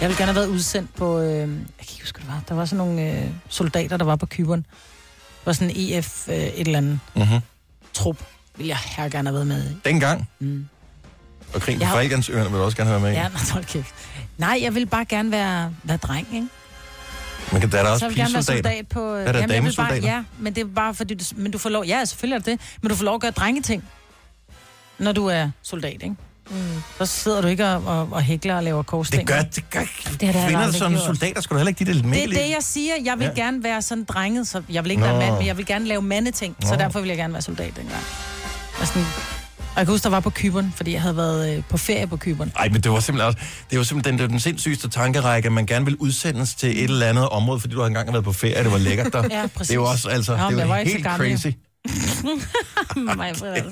Jeg ville gerne have været udsendt på... Øh, jeg kan ikke huske, hvad det var. Der var sådan nogle øh, soldater, der var på Kyberen. Det var sådan en EF øh, et eller andet Mm-hmm. trup. Ville jeg her gerne have været med i. Dengang. Mm. Og krigen på Jeg har- Falklandsøerne vil du også gerne være med i. Ja, men hold kæft. Nej, jeg ville bare gerne være, være dreng, ikke? Man kan, der er der så også vil jeg gerne være pigesoldater. soldat på... øh, er der, jeg vil bare, damesoldater? Ja, men det er bare fordi... Du, men du får lov... Ja, selvfølgelig er det det. Men du får lov at gøre drengeting, når du er soldat, ikke? Mm. Så sidder du ikke og, og, og hækler og laver Det korsting. gør, det gør ikke. jeg da Kvinder aldrig som gjort. soldater skulle da heller ikke de det lidt Det er det, jeg siger. Jeg vil Ja. ja. gerne være sådan drenget, så jeg vil ikke Nå. Nå. være mand, men jeg vil gerne lave mandeting, så Nå. derfor vil jeg gerne være soldat dengang. Og, sådan, og jeg kan huske, der var på Kyberen, fordi jeg havde været øh, på ferie på Kyberen. Ej, men det var simpelthen også, det var simpelthen den, det var den sindssygeste tankerække, at man gerne vil udsendes til et eller andet område, fordi du har engang været på ferie, og det var lækkert der. Ja, præcis. Det er jo også, altså, Nå, det men er jeg jo var ikke så helt gammel, jo. crazy. Mig, altså.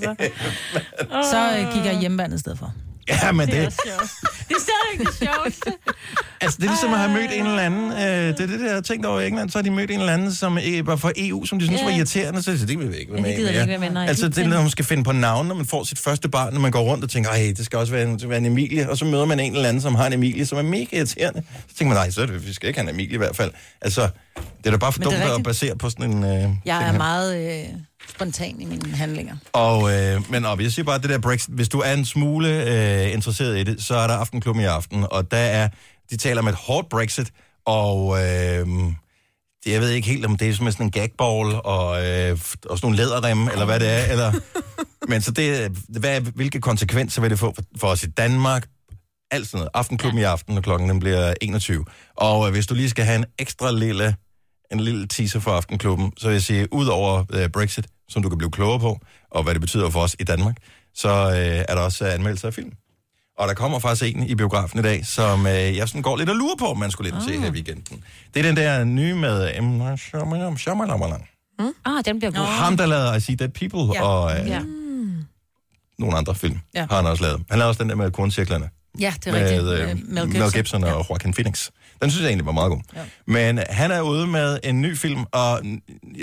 Så øh, gik jeg i hjemmevandet i stedet for. Ja, men det, Det er stadigvæk det sjoveste. altså, det er ligesom at have mødt en eller anden. Øh, det er det, der jeg har tænkt over i England. Så har de mødt en eller anden, som øh, var fra EU, som de synes var irriterende. Så det vil vi ikke være med. det gider i vi ikke mere." være med, nej. Altså, det er, når man skal finde på navn, når man får sit første barn, når man går rundt og tænker, ej, det skal også være en, det skal være en Emilie. Og så møder man en eller anden, som har en Emilie, som er mega irriterende. Så tænker man, nej, så er det, vi skal ikke have en Emilie i hvert fald. Altså, det er da bare for Men det dumt er at rigtigt. basere på sådan en... Øh, ting Jeg er her. meget øh, spontan i mine handlinger. Og, øh, men op, jeg siger bare, at det der Brexit, hvis du er en smule øh, interesseret i det, så er der Aftenklubben i aften, og der er, de taler om et hårdt Brexit, og øh, det- jeg ved ikke helt, om det er som sådan en gagball, og, øh, og sådan nogle læderremme, eller hvad det er, eller, men så det, er- hvad, hvilke konsekvenser vil det få for, for os i Danmark, alt sådan noget. Aftenklubben ja. i aften, og klokken den bliver 21. Og øh, hvis du lige skal have en ekstra lille, en lille teaser for Aftenklubben, så vil jeg sige, ud over øh, Brexit, som du kan blive klogere på, og hvad det betyder for os i Danmark, så øh, er der også øh, anmeldelser af film. Og der kommer faktisk en i biografen i dag, som øh, jeg sådan går lidt og lurer på, om man skulle lidt oh. se her i weekenden. Det er den der nye med Emma Shyamalan. Shyamalan. Ah, den bliver god. Mm. Ham, der lavede I See Dead People ja. Ja. og øh, ja. Ja. nogle andre film, ja. Ja. har han også lavet. Han lavede også den der med korncirklerne Ja, det er med øh, rigtigt. Mel Gibson, Mel Gibson og Joaquin Phoenix. Den synes jeg egentlig var meget god. Ja. Ja. Men han er ude med en ny film, og n-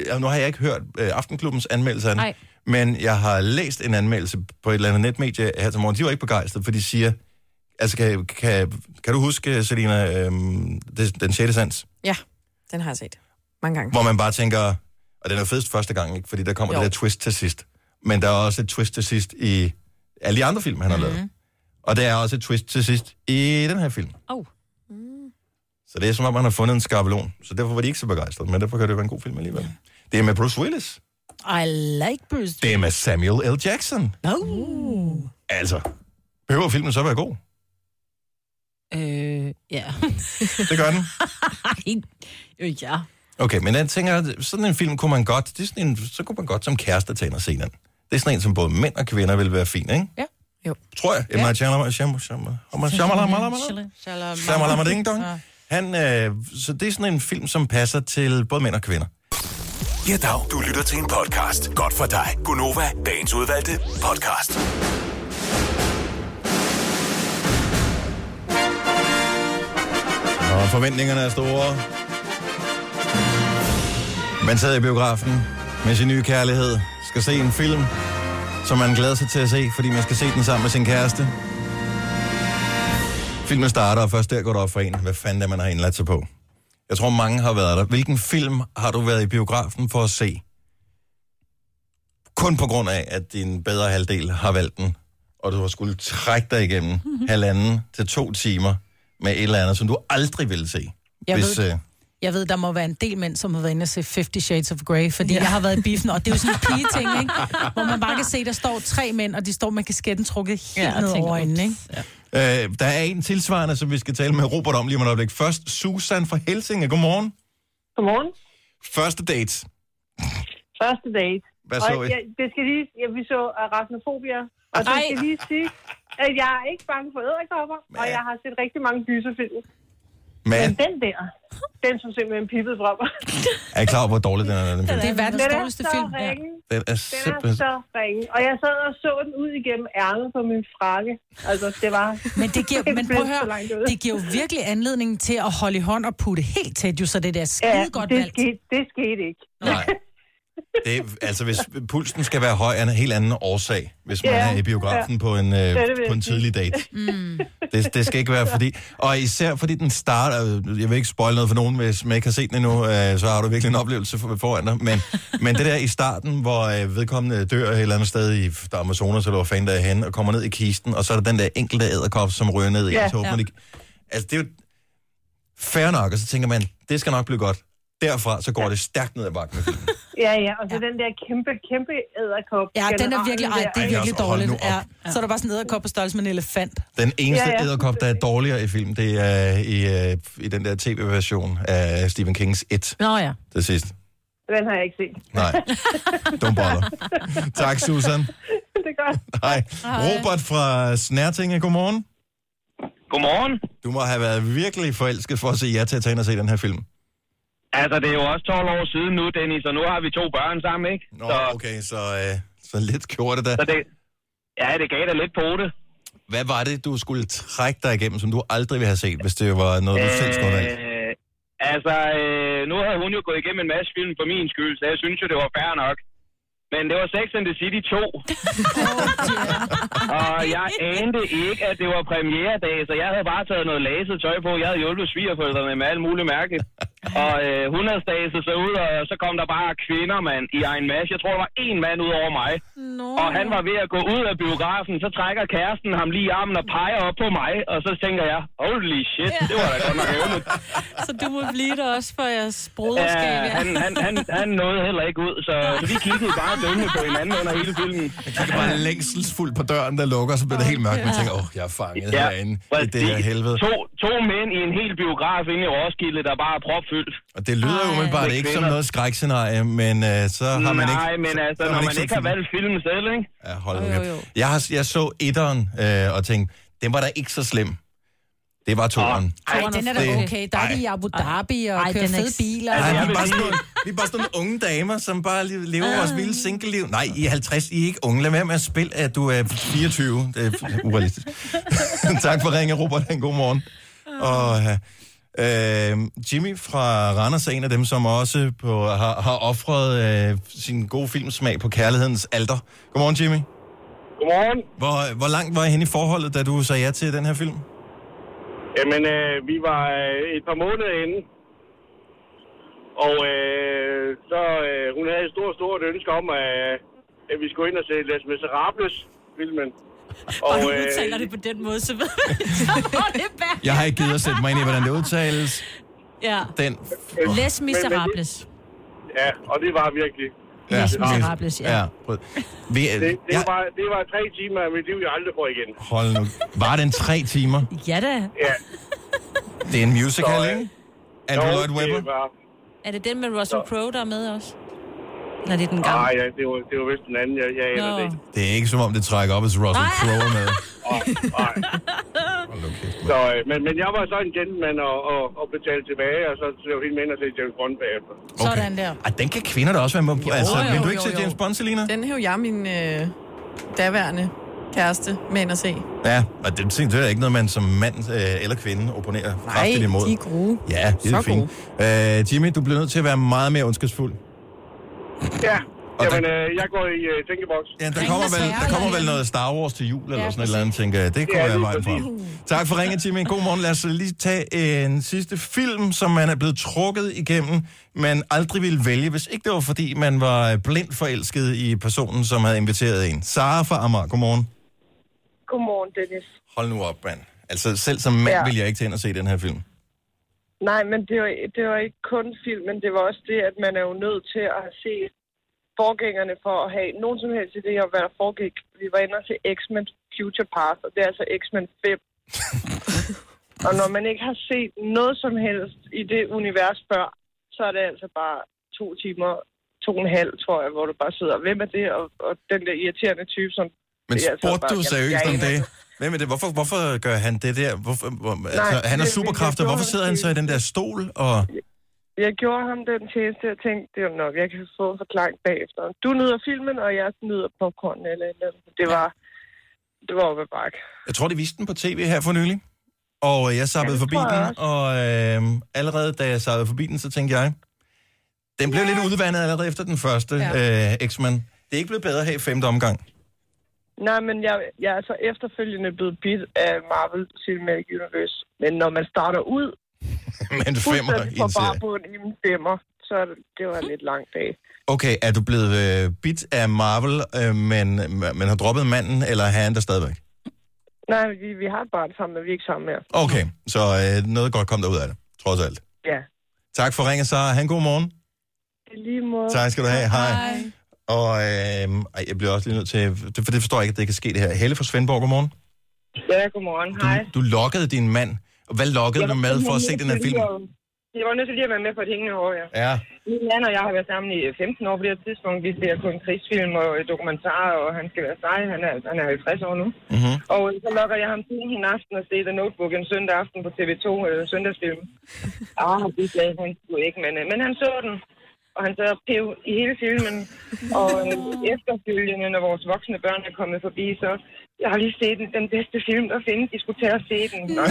ja, nu har jeg ikke hørt øh, Aftenklubbens anmeldelse af den, Nej. men jeg har læst en anmeldelse på et eller andet netmedie her til morgen. De var ikke begejstrede, for de siger, altså kan, kan, kan du huske, Selina, øh, det, Den 6. sans? ja, den har jeg set mange gange. Hvor man bare tænker, og den er fedest første gang, ikke? fordi der kommer jo. Jo. det der twist til sidst. Men der er også et twist til sidst i alle de andre film, han har mm-hmm. lavet. Og der er også et twist til sidst i den her film. Oh. Så det er som om, man har fundet en skabelon. Så derfor var de ikke så begejstrede, men derfor kan det være en god film alligevel. Det er med Bruce Willis. I like Bruce. Det er med Samuel L. Jackson. No. Uh. Altså, behøver filmen så være god? Øh, ja. Det gør den. Øh, ja. Okay, men jeg tænker, sådan en film kunne man godt, det er sådan en, så kunne man godt som kæreste tage ind og se den. Det er sådan en, som både mænd og kvinder vil være fin, ikke? Ja. Jo. Tror jeg. Emma Shyamalan- Shyam- Shyam- Shyam- Shyamalan- Shyamalan- Ding Dong. Ja. Han, øh, så det er sådan en film, som passer til både mænd og kvinder. Ja, dag. Du lytter til en podcast. Godt for dig. Gunova, dagens udvalgte podcast. Og forventningerne er store. Man sad i biografen med sin nye kærlighed, skal se en film, som man glæder sig til at se, fordi man skal se den sammen med sin kæreste. Filmen starter, og først der går det op for en, hvad fanden det er, man har indladt sig på. Jeg tror, mange har været der. Hvilken film har du været i biografen for at se? Kun på grund af, at din bedre halvdel har valgt den, og du har skulle trække dig igennem Mhm. halvanden til to timer med et eller andet, som du aldrig ville se. Jeg hvis, ved- øh, Jeg ved, der må være en del mænd, som har været inde og se 50 Shades of Grey, fordi ja. jeg har været i biffen, og det er jo sådan en pige-ting, ikke? Hvor man bare kan se, der står tre mænd, og de står med kasketten trukket helt Ja, ja, jeg ned tænker, over øjnene, Øh, ikke? der er en tilsvarende, som vi skal tale med Robert om lige om et øjeblik. Først Susan fra Helsinge. Godmorgen. Godmorgen. Første date. Første date. Hvad Og så I? jeg, det skal lige, ja, vi så arachnofobia, og det Ej. skal lige sige, at jeg er ikke bange for æderkopper, og jeg har set rigtig mange gyserfilm. Men Men den der, den som simpelthen pippede fra mig. er I klar over, hvor dårlig den er? Den, film? Det er verdens Den er dårligste så film. Ja. ringe. den er Den er simpelthen... så ringe. Og jeg sad og så den ud igennem ærmet på min frakke. Altså, det var... Men det giver, men prøv at Så langt høre, ud. det giver jo virkelig anledning til at holde i hånd og putte helt tæt, jo, så det der Ja, skide godt det, valgt. skete, det skete ikke. Nej. Det, er- altså, hvis pulsen skal være høj, er en helt anden årsag, hvis man Ja, er i biografen på en, øh, det vil på en jeg sige. Mm. tidlig date. Det, det skal ikke være fordi... Og især fordi den starter... Jeg vil ikke spoil noget for nogen, hvis man ikke har set den endnu, øh, så har du virkelig en oplevelse for- foran dig. Men, men det der i starten, hvor øh, vedkommende dør et eller andet sted i der er Amazonas, eller hvor fanden der er henne, og kommer ned i kisten, og så er der den der enkelte æderkop, som ryger ned i, ja, Ja. og så åbner ja. Ja. de... Altså, det er jo fair nok, og så tænker man, det skal nok blive godt. Derfra, så går det stærkt ned ad bakken. med filmen. Ja, ja, og så ja. den der kæmpe, kæmpe æderkop. Ja, den er virkelig, ej, det er Ej, virkelig altså, hold dårligt. nu op. Ja. Så er der bare sådan en æderkop på størrelse med en elefant. Den eneste Ja, ja, ja. æderkop, der er dårligere i film, det er i, øh, i den der tv-version af Stephen Kings It, Nå ja. det sidste. Den har jeg ikke set. Nej, don't bother. tak, Susan. det er godt. Hej. Robert fra Snærtinge, godmorgen. Godmorgen. Du må have været virkelig forelsket for at se jer til at tage ind og se den her film. Altså, det er jo også 12 år siden nu, Dennis, og nu har vi to børn sammen, ikke? Nå, så, okay, så, øh, så lidt gjorde det da. så det, ja, det gav da lidt på det. Hvad var det, du skulle trække dig igennem, som du aldrig ville have set, hvis det var noget, du selv skulle have valgt? Øh, altså, øh, nu havde hun jo gået igennem en masse film for min skyld, så jeg synes jo, det var fair nok. Men det var Sex and the City 2. og jeg anede ikke, at det var premieredag, så jeg havde bare taget noget laset tøj på. Jeg havde hjulpet svigerforældrene med alt muligt mærke. Og øh, hun havde staset sig ud, og så kom der bare kvinder, mand, i en masse. Jeg tror, der var en mand ud over mig. Nå. Og han var ved at gå ud af biografen, så trækker kæresten ham lige i armen og peger op på mig, og så tænker jeg, holy shit, det var da godt nok evnet. Så du må blive der også for jeres Ja, broderskab. han, han, han, han nåede heller ikke ud, så, så Øh, vi kiggede bare dømme på hinanden under hele filmen. Det var længselsfuldt på døren, der lukker, så bliver det helt mørkt. Man tænker, åh, oh, jeg er fanget ja, herinde i det her præcis. helvede. To, to mænd i en hel biograf inde i Roskilde, der bare er propfyldt. Og det lyder jo Ej. umiddelbart Med ikke som kvinder. noget skrækscenarie, men øh, så har man ikke... Nej, men så- altså, så når man ikke set har filmen. valgt filmen selv, ikke? Ja, hold nu Jo, kæft. jo, jo. Jeg, har, jeg så etteren øh, og tænkte, den var da ikke så slem. Det var toeren. Ej, den er da Det- okay. Der er de i Abu Dhabi og Ej, kører den er fede ikke- biler. Nej, Altså, jeg vi, er vil bare sige- Ah. sådan nogle, vi er bare sådan nogle unge damer, som bare li- lever vores vilde single-liv. Nej, I er 50, I er ikke unge. Lad være med at spille, at du er 24. Det er f- urealistisk. tak for ringen, Robert. En god morgen. Og, øh, Jimmy fra Randers er en af dem, som også på, har, har offret øh, sin gode filmsmag på kærlighedens alter. Godmorgen, Jimmy. Godmorgen. Hvor, hvor langt var I henne i forholdet, da du sagde ja til den her film? Jamen, øh, vi var øh, et par måneder inde, og øh, så øh, hun havde et stort, stort ønske om, øh, at vi skulle ind og se Les Miserables-filmen. Og øh, du udtaler det på den måde, så ved vi, så må det være. Jeg har ikke givet at sætte mig ind i, hvordan det udtales. Ja. Den... Les Miserables. Ja, og det var virkelig. Les Miserables, ja. ja. prøv. Vi, øh, Det, det, ja, ja. var, det var tre timer af mit liv, jeg aldrig får igen. hold nu. Var den tre timer? Ja da. Ja. Det er en musical, Så, øh, ikke? Andrew Lloyd Webber? var, Er det den med Russell Så. Crowe, der er med også? Eller er det den gamle? nej, ja, det var, det var vist den anden, jeg, jeg aner det Nå. ikke. Det er ikke som om, det trækker op, hvis Russell Nej. Crowe er med. Nej, nej. Hold nu kæft, mand. Så, øh, men, men jeg var så en gentleman og, og, og betalte tilbage, og så blev jeg helt med ind og se James Bond bagefter. Okay. Sådan der. Ej, den kan kvinder da også være med på. Altså, jo, vil du jo, ikke se jo. James Bond, Selina? Den hæv jeg min øh, daværende kæreste med ind og se. Ja, og det, det er ikke noget, man som mand øh, eller kvinde opponerer kraftigt imod. de er gode. Ja, det er Så fint. Øh, Jimmy, du bliver nødt til at være meget mere ondskabsfuld. Ja, Og jamen, der- øh, jeg går i øh, tænkeboks. Ja, der Ringen kommer, er vel, sværere, der kommer vel eller- noget Star Wars til jul, eller Ja, sådan et eller andet, tænker jeg. Det kunne Ja, være lige vejen frem. præcis. Tak for ringen, Jimmy. God morgen. Lad os lige tage øh, en sidste film, som man er blevet trukket igennem, man aldrig ville vælge, hvis ikke det var, fordi man var blind forelsket i personen, som havde inviteret en. Sara fra Amager, godmorgen. Godmorgen, Dennis. Hold nu op, mand. Altså, selv som mand Ja. ville jeg ikke tage ind og se den her film. Nej, men det var, det var ikke kun filmen, det var også det, at man er jo nødt til at have set forgængerne for at have nogen som helst idé om, hvad der foregik. Vi var inde og se X-Men Future Past, og det er altså X-Men 5. og når man ikke har set noget som helst i det univers før, så er det altså bare to timer, to og en halv, tror jeg, hvor du bare sidder, hvem er det, og, og den der irriterende type, som... Men Det er altså spurgte bare- du Jamen, seriøst om jeg aner det? Hvem er det? Hvorfor, hvorfor gør han det der? Hvorfor, hvor, Nej, altså, han har det- superkræfter. det- det- Hvorfor sidder han så i den der stol? Og, Jeg gjorde ham den tjeneste, jeg tænkte, det var nok, jeg kan få en forklaring bagefter. Du nyder filmen, og jeg nyder popcorn eller et eller andet. Det var, det var op ad bakke. jeg tror, de viste den på tv her for nylig. Og øh, jeg sappede Ja, ja, det forbi tror jeg den, og øh, allerede da jeg sappede forbi den, så tænkte jeg, den blev lidt udvandet allerede efter den første ja. øh, X-Men. Det er ikke blevet bedre her i femte omgang. Nej, men jeg, jeg er så efterfølgende blevet bit af Marvel Cinematic Universe. Men når man starter ud, Men femmer fuldstændig i på en bare serie. på en imen stemmer, så er det- det var en lidt lang dag. Okay, er du blevet øh, bit af Marvel, øh, men, men har droppet manden, eller er han der stadigvæk? Nej, vi, vi har et barn sammen, men vi er ikke sammen mere. Okay, så øh, noget godt kom der ud af det, trods alt. Ja. Tak for ringet, Sara. Han god morgen. I lige måde. Tak skal du have. Hej. Og øh, ej, jeg bliver også lige nødt til, det- for det forstår jeg ikke, at det kan ske det her. Helle fra Svendborg, godmorgen. Ja, godmorgen. Hej. Du, du lokkede din mand. Og Hvad lokkede du med for at se den her film? Jeg var nødt til lige at være med på et hængende hår, ja. Ja, Min mand og jeg har været sammen i 15 år på det her tidspunkt. Vi ser kun krigsfilm og dokumentarer, og han skal være sej. Han er, han er 50 år nu. Mhm. Og øh, så lokker jeg ham til en aften og se The Notebook en søndag aften på TV2 øh, søndagsfilm. Ah, det sagde han sgu ikke, men, øh, men han så den. Og han sad og pev i hele filmen. Og øh, efterfølgende, når vores voksne børn er kommet forbi, så jeg har lige set den, den bedste film, der findes. I skulle tage og se den. No!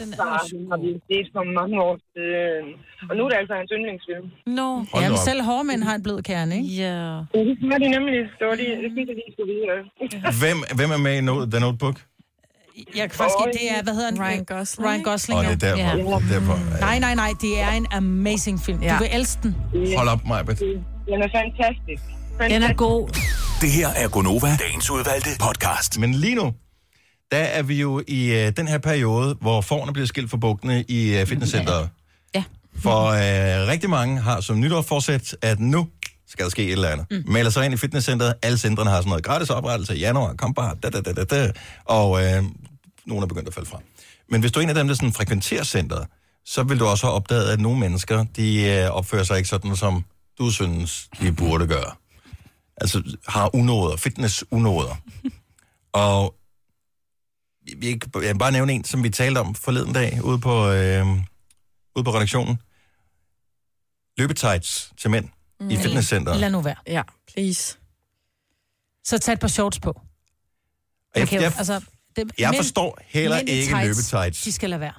Den er Den har vi set for mange år siden. Og nu er det altså hans yndlingsfilm. Nå. hold Ja, nu men op. selv hårdmænd har en blød kerne, ikke? Ja. Ja, det var de nemlig. Det var lige, det synes jeg lige skulle vide. Hvem, hvem er med i no- The Notebook? Jeg kan faktisk ikke, det er, hvad hedder han? Ryan Gosling. Ryan Gosling, Og ja. det er derfor. Ja. Det er derfor. Nej, nej, nej, det er en amazing film. Du Ja. vil elske den. Hold op, Majbet. Den er fantastisk. Den er god. Det her er Gonova, dagens udvalgte podcast. Men lige nu, der er vi jo i øh, den her periode, hvor forerne bliver skilt fra bukkene i øh, fitnesscenteret. Ja. For øh, rigtig mange har som nytårsforsæt, at nu skal der ske et eller andet. Mm. Melder sig ind i fitnesscenteret. Alle centrene har sådan noget gratis oprettelse i januar. Kom bare. Da, da, da, da, da. Og øh, nogen er begyndt at falde fra. Men hvis du er en af dem, der sådan frekventerer centret, så vil du også have opdaget, at nogle mennesker, de øh, opfører sig ikke sådan, som du synes, de burde gøre. Altså har unåder, fitness-unåder. Og vi- jeg kan jeg vil bare nævne en, som vi talte om forleden dag ude på, øh, ude på redaktionen. Løbetights til mænd mm. i fitnesscenteret. Lad nu være. Ja, please. Så tag et par shorts på. Og Jeg, Okay, jeg, altså, det, jeg mænd- forstår heller mænd i ikke tights, løbetights. De skal lade være.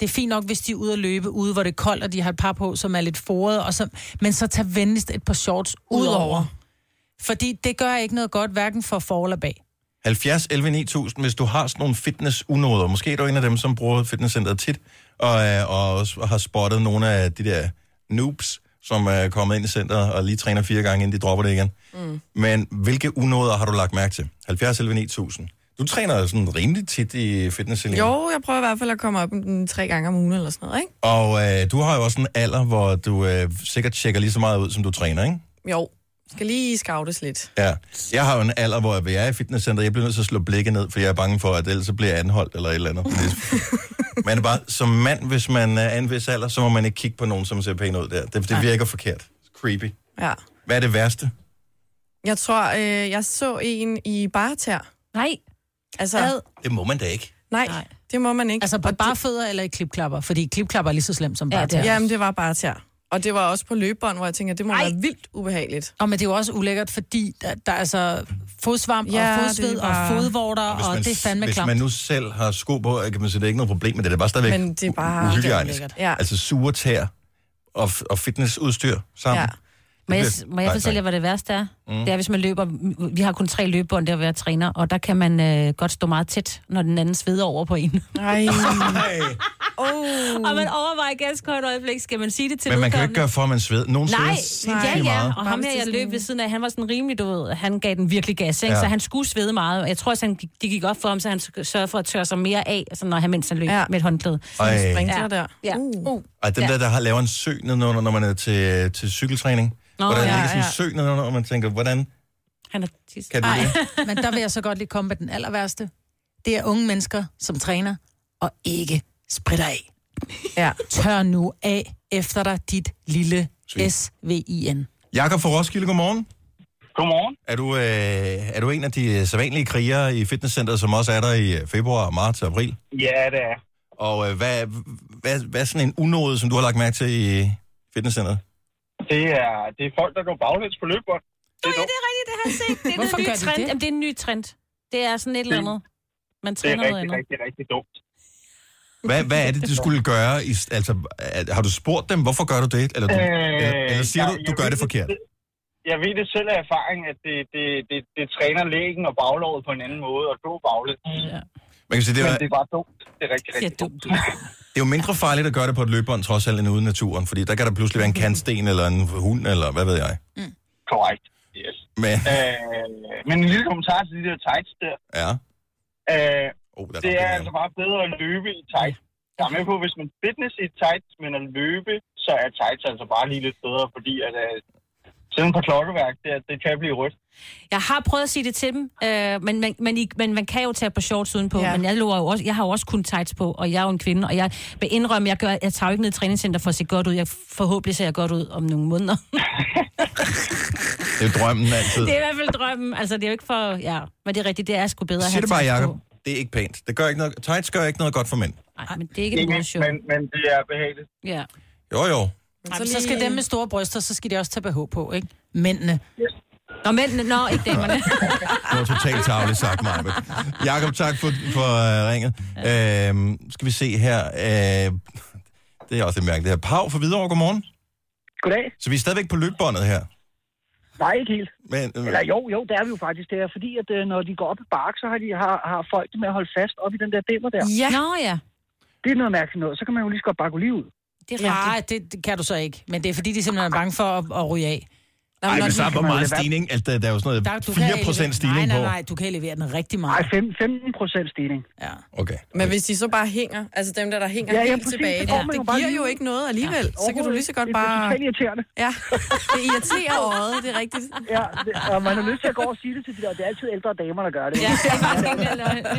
Det er fint nok, hvis de er ude at løbe ude, hvor det er koldt, og de har et par på, som er lidt forede, og så, men så tag venligst et par shorts udover. Fordi det gør ikke noget godt, hverken for for eller bag. 70, 11, 9000, hvis du har sådan nogle fitness-unoder. Måske er du en af dem, som bruger fitnesscenteret tit, og, øh, og også har spottet nogle af de der noobs, som er kommet ind i centret og lige træner fire gange, inden de dropper det igen. Mm. Men hvilke unoder har du lagt mærke til? 70, 11, 9000. Du træner sådan rimelig tit i fitness Helene. Jo, jeg prøver i hvert fald at komme op den tre gange om ugen eller sådan noget, ikke? Og øh, du har jo også en alder, hvor du øh, sikkert tjekker lige så meget ud, som du træner, ikke? Jo, skal lige scoutes lidt. Ja. Jeg har jo en alder, hvor jeg er i fitnesscenter. Jeg bliver nødt til at slå blikket ned, for jeg er bange for, at ellers så bliver jeg anholdt eller et eller andet. man er bare, som mand, hvis man er en vis alder, så må man ikke kigge på nogen, som ser pæn ud der. Det, det virker forkert. Creepy. Ja. Hvad er det værste? Jeg tror, øh, jeg så en i barter. Nej. Altså, Ad. Det må man da ikke. nej, Nej. nej, det må man ikke. Altså på Og bare fødder eller i klipklapper, fordi klipklapper er lige så slemt som Ja, bare det er ja, det, jamen, det var barter. Og det var også på løbebånd, hvor jeg tænker, det må Ej. Ej. være vildt ubehageligt. Og men det er jo også ulækkert, fordi der, der er altså fodsvamp ja, Ja, og det er fodsved bare... bare- og fodvorter, og det er fandme hvis klamt. man nu selv har sko på, kan man sige, det er ikke noget problem med det. Det er bare stadigvæk Men det er bare- u- det er uhygiejnisk. ulækkert. Ja. Altså sure tær og, f- og fitnessudstyr sammen. Ja. Må jeg, bliver- må jeg Nej, fortælle jer, nej. hvad det værste er? Mm. Det er, hvis man løber... Vi har kun tre løbebånd, der hvor jeg træner, og der kan man øh, godt stå meget tæt, når den anden sveder over på en. Nej. Nej. Oh. og man overvejer ganske kort øjeblik, skal man sige det til Men man kan jo ikke vedkommende? gøre for, at man sveder. Nogen Nej, sveder ja, sindssygt ja. meget. Og ham her, jeg løb ved siden af, han var sådan rimelig, du ved, han gav den virkelig gas, ikke? Ja. Ja. så han skulle svede meget. Jeg tror, at han, det gik op for ham, så han sørgede for at tørre sig mere af, sådan, når han mens han løb ja. Ja. med et håndklæde. Ej. Sprinkler der. Ja. Uh. Ej, dem ja. Ja. der, der har lavet en sø nedenunder, når man er til, til cykeltræning. Nå, hvor der ja, ligger sådan en ja. sø nedenunder, og man tænker, hvordan Han er tis. kan det Nej, det? men der vil jeg så godt lige komme med den aller værste. Det er unge mennesker, som træner og ikke spritter af. Ja. Tør nu af efter dig dit lille Svin. SVIN. Jakob fra Roskilde, godmorgen. Godmorgen. Er du, øh, er du en af de sædvanlige krigere i fitnesscenteret, som også er der i øh, februar, marts og april? Ja, det er. Og øh, hvad, hvad, hvad er sådan en unåde, som du har lagt mærke til i fitnesscenteret? Det er, det er folk, der går baglæns på løbebånd. Det er, dumt. er rigtigt, det har jeg set. Det er Hvorfor en ny gør de trend. det? Jamen, det er en ny trend. Det er sådan et eller andet. Man det er træner noget rigtig, andet. rigtig, rigtig dumt. Hvad, hvad er det, de skulle gøre? I, altså, er, har du spurgt dem, hvorfor gør du det? Eller, du, Øh, eller, eller siger nej, du, du jeg gør ved det forkert? Jeg ved det selv af erfaring, at det, det, det, det træner lægen og baglovet på en anden måde, og gå baglæns. Ja. Man kan sige, Altså, det, Men er, det er bare dumt. Det er rigtig, Det rigtig er dumt. det er jo mindre farligt at gøre det på et løbebånd, trods alt, end ude i naturen. Fordi der kan der pludselig være en kantsten, eller en hund, eller hvad ved jeg. korrekt. Yes. Men, Øh, men en lille kommentar til de der tights der. ja. Øh, Oh, der det ramte er jeg. altså bare bedre at løbe i tights. Jeg er med på, hvis man fitness i tights, men at løbe, så er tights altså bare lige lidt bedre, fordi at, øh, sådan på klokkeværk, det, det kan blive rødt. Jeg har prøvet at sige det til dem, øh, men, man, men, I- men man kan jo tage på shorts udenpå. Ja. Ja. Men jeg, lover jo også, jeg har jo også kun tights på, og jeg er jo en kvinde, og jeg vil indrømme, jeg, gør, jeg tager jo ikke ned i træningscenter for at se godt ud. Jeg forhåbentlig ser jeg godt ud om nogle måneder. Det er drømmen altid. det er i hvert fald drømmen. Altså, det er jo ikke for... Ja, men det er rigtigt, det er sgu bedre at Sig have det bare, tights Jacob. på. Det er ikke pænt. Det gør ikke noget, tights gør ikke noget godt for mænd. Nej, men det er ikke et modeshow. men, men det er behageligt. Ja. Jo, jo. Ej, men så skal dem med store bryster, så skal de også tage BH på, ikke? Mændene. Nå, mændene, nå, ikke damerne. Det var totalt tavligt sagt, Marve. Jakob, tak for, for uh, ringet. Ja. Øhm, skal vi se her. Øh, det er også et mærke. Det her. Pau fra Hvidovre, godmorgen. Goddag. Så vi er stadigvæk på løbbåndet her. Nej, ikke helt. Men, øh, Eller jo, jo, det er vi jo faktisk. Det er fordi, at øh, når de går op i bark, så har, de, har, har folk det med at holde fast op i den der dimmer der. ja. Nå, ja. Det er noget mærkeligt noget. Så kan man jo lige så godt bakke lige ud. Det er rigtigt. Nej, det, det kan du så ikke. Men det er fordi, de simpelthen er bange for at, at ryge af. ej, men så er hvor man meget lade være. stigning. Altså, der, der er jo sådan Der, noget du 4% nej, stigning nej, på. nej, du kan elevere den rigtig Ej, meget. fem- 15 procent stigning. Ja. Okay. Men hvis de så bare hænger, altså dem der, der hænger Ja, ja, ja, helt præcis, tilbage, det det, får man jo det bare giver lige jo ud. ikke noget alligevel. Ja, så kan du lige så godt Det er bare... totalt irriterende. Ja, det irriterer øjet, det er rigtigt. Ja, det, og man har lyst til at gå og sige det til de der. Det er altid ældre damer, der gør det. Ja.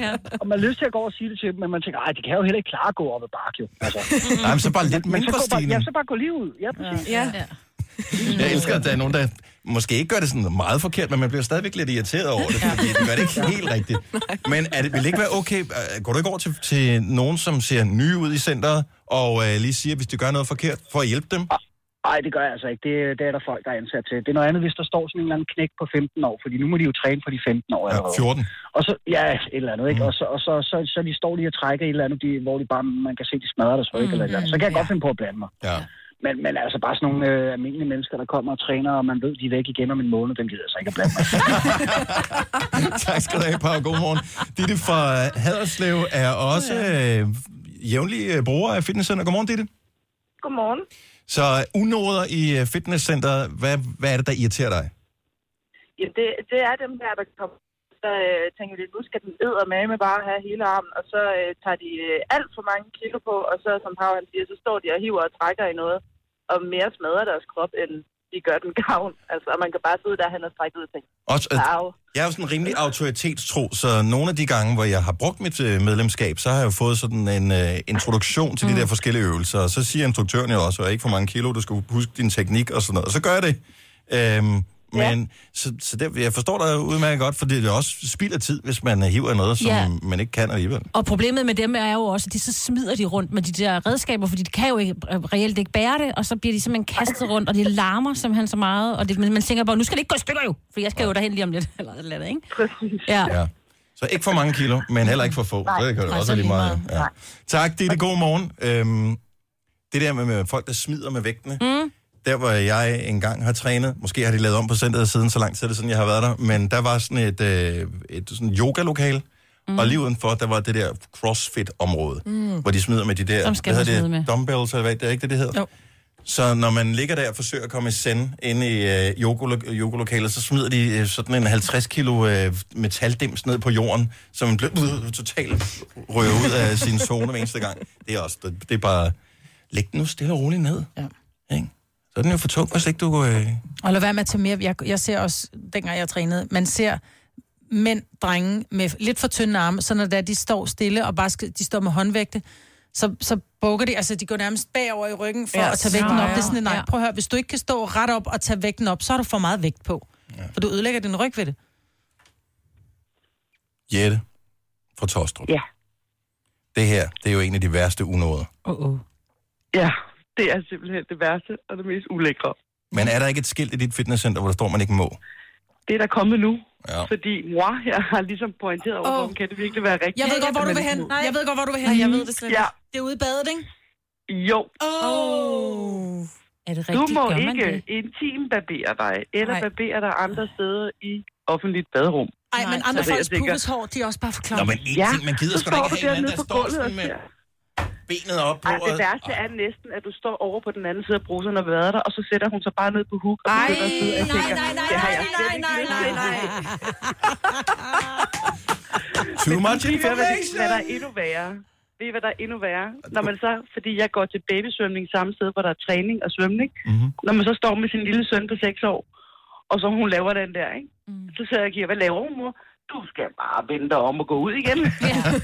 Ja. Og man har lyst til at gå og sige det til dem, men man tænker, ej, de kan jo heller ikke klare at gå op ad bark, jo. Altså. Nej, men så bare lidt Men så mindre gå bare, ja, stigning. så bare gå lige ud. Ja, præcis. Ja. Jeg elsker, at der er nogen, der måske ikke gør det sådan meget forkert, men man bliver stadigvæk lidt irriteret over det, fordi de gør det ikke helt rigtigt. Men er det, vil det ikke være okay, øh, går du ikke over til, til nogen, som ser nye ud i centret, og øh, lige siger, hvis de gør noget forkert, for at hjælpe dem? Nej, det gør jeg altså ikke. Det, det er der folk, der er ansat til. Det er noget andet, hvis der står sådan en eller anden knæk på 15 år, fordi nu må de jo træne for de 15 år Ja, allerede. 14. Og så, ja, et eller andet, ikke? Og, så, og så, så, så de står lige og trækker et eller andet, de, hvor de bare, man kan se, de smadrer deres ryg mm, eller et eller andet. Så kan jeg ja. godt finde på at blande mig. Ja. Men, men altså bare sådan nogle øh, almindelige mennesker, der kommer og træner, og man ved, de er væk igen om en måned, dem gider jeg så ikke at blande mig. tak skal du have, Pau. Godmorgen. Ditte fra Haderslev er også øh, jævnlig øh, bruger af fitnesscenter. Godmorgen, Ditte. altså. Godmorgen. Så unoder i øh, fitnesscenteret, hvad, hvad er det, der irriterer dig? Ja, det, det er dem her, der kommer. Så øh, tænker de, nu skal den æder med med bare at have hele armen, og så øh, tager de øh, alt for mange kilo på, og så, som Pau han siger, så står de og hiver og trækker i noget, og mere smadrer deres krop, end de gør den gavn. Altså, og man kan bare sidde der, han har strækket ud og tænke, Også, øh, wow. Jeg er jo sådan rimelig autoritetstro, så nogle af de gange, hvor jeg har brugt mit øh, medlemskab, så har jeg jo fået sådan en øh, introduktion til de der forskellige øvelser. Og så siger instruktøren jo også, at ikke for mange kilo, du skal huske din teknik og sådan noget. Og så gør jeg det. Øhm, men så, så det, jeg forstår dig udmærket godt, for det er også spild af tid, hvis man øh, hiver noget, som Ja. man ikke kan alligevel. Og problemet med dem er jo også, at de så smider de rundt med de der redskaber, fordi de kan jo ikke, øh, reelt ikke bære det, og så bliver de simpelthen kastet rundt, og det larmer simpelthen så meget, og det, men man tænker bare, nu skal det ikke gå i stykker jo, for jeg skal jo derhen lige om lidt, eller et eller andet, ikke? Præcis. Ja. Ja. Så ikke for mange kilo, men heller ikke for få. Nej, det kan det Nej, også så være lige lige meget. Ja. Tak, det er det gode morgen. Øhm, det der med, med folk, der smider med vægtene. Mm. Der, hvor jeg engang har trænet, måske har de lavet om på centret siden, så lang tid er det siden, jeg har været der, men der var sådan et, øh, et sådan yoga-lokal, mm. og lige udenfor, der var det der crossfit-område, mm. hvor de smider med de der, Dem skal hvad man hedder smide det, med. dumbbells, eller hvad, det er ikke det, det hedder? Jo. Så når man ligger der og forsøger at komme i send inde i øh, yogalo- yogalokalet, så smider de øh, sådan en 50 kilo øh, metaldims ned på jorden, som man bliver øh, totalt røvet ud af sin zone hver eneste gang. Det er også, det, det er bare, læg den nu stille og roligt ned. Ja. Ikke? Så er den jo for tung, hvis ikke du... Øh... Og lad være med at tage mere. Jeg, jeg ser også, dengang jeg trænede, man ser mænd, drenge med lidt for tynde arme, så når det er, de står stille og bare skal, de står med håndvægte, så, så bukker de, altså de går nærmest bagover i ryggen for ja, Ja, at tage vægten så- op. Det er sådan, nej, ja. prøv at høre, hvis du ikke kan stå ret op og tage vægten op, så har du for meget vægt på. Ja. For du ødelægger din ryg ved det. Jette fra Tostrup. Ja. Det her, det er jo en af de værste unåder. Oh, oh. Ja, det er simpelthen det værste og det mest ulækre. Men er der ikke et skilt i dit fitnesscenter, hvor der står, man ikke må? Det er der kommet nu, Ja. fordi mor, jeg har ligesom pointeret over, oh. kan det virkelig være rigtigt? Jeg ved godt, hvor du Men- vil hen. Nej. Jeg ved godt, hvor du vil hen. Nej, jeg ved det slet Ja, ikke. Det er ude i badet, ikke? jo. Åh. Oh. Er det Du rigtigt, må gør man ikke det? intim barbere dig, eller Nej. barbere dig andre steder i offentligt baderum. Ej, men Nej, andre tak. folks Jeg tænker- pubeshår, de er også bare for Nå, klamme. men en ting, man gider så sgu da står ikke du have en mand, dernede der på står gulvet sådan og med ser. benet op på Ej, det værste er næsten, at du står over på den anden side af bruserne og vader dig, og så sætter hun sig bare ned på huk. Og Ej, begynder at sidde og nej, tænker, nej, nej, "Det har jeg nej, slet nej, ikke nej, lyst nej, til." nej. Too much Ved du, hvad, det- hvad der information! er endnu værre? Ved I, hvad der er endnu værre? Når man så, fordi jeg går til babysvømning samme sted, hvor der er træning og svømning. Mhm. Mm-hmm. Når man så står med sin lille søn på 6 år, og så hun laver den der, ikke? Mm. Så sidder jeg og giver, hvad laver hun, mor? Du skal bare vende dig om og gå ud igen.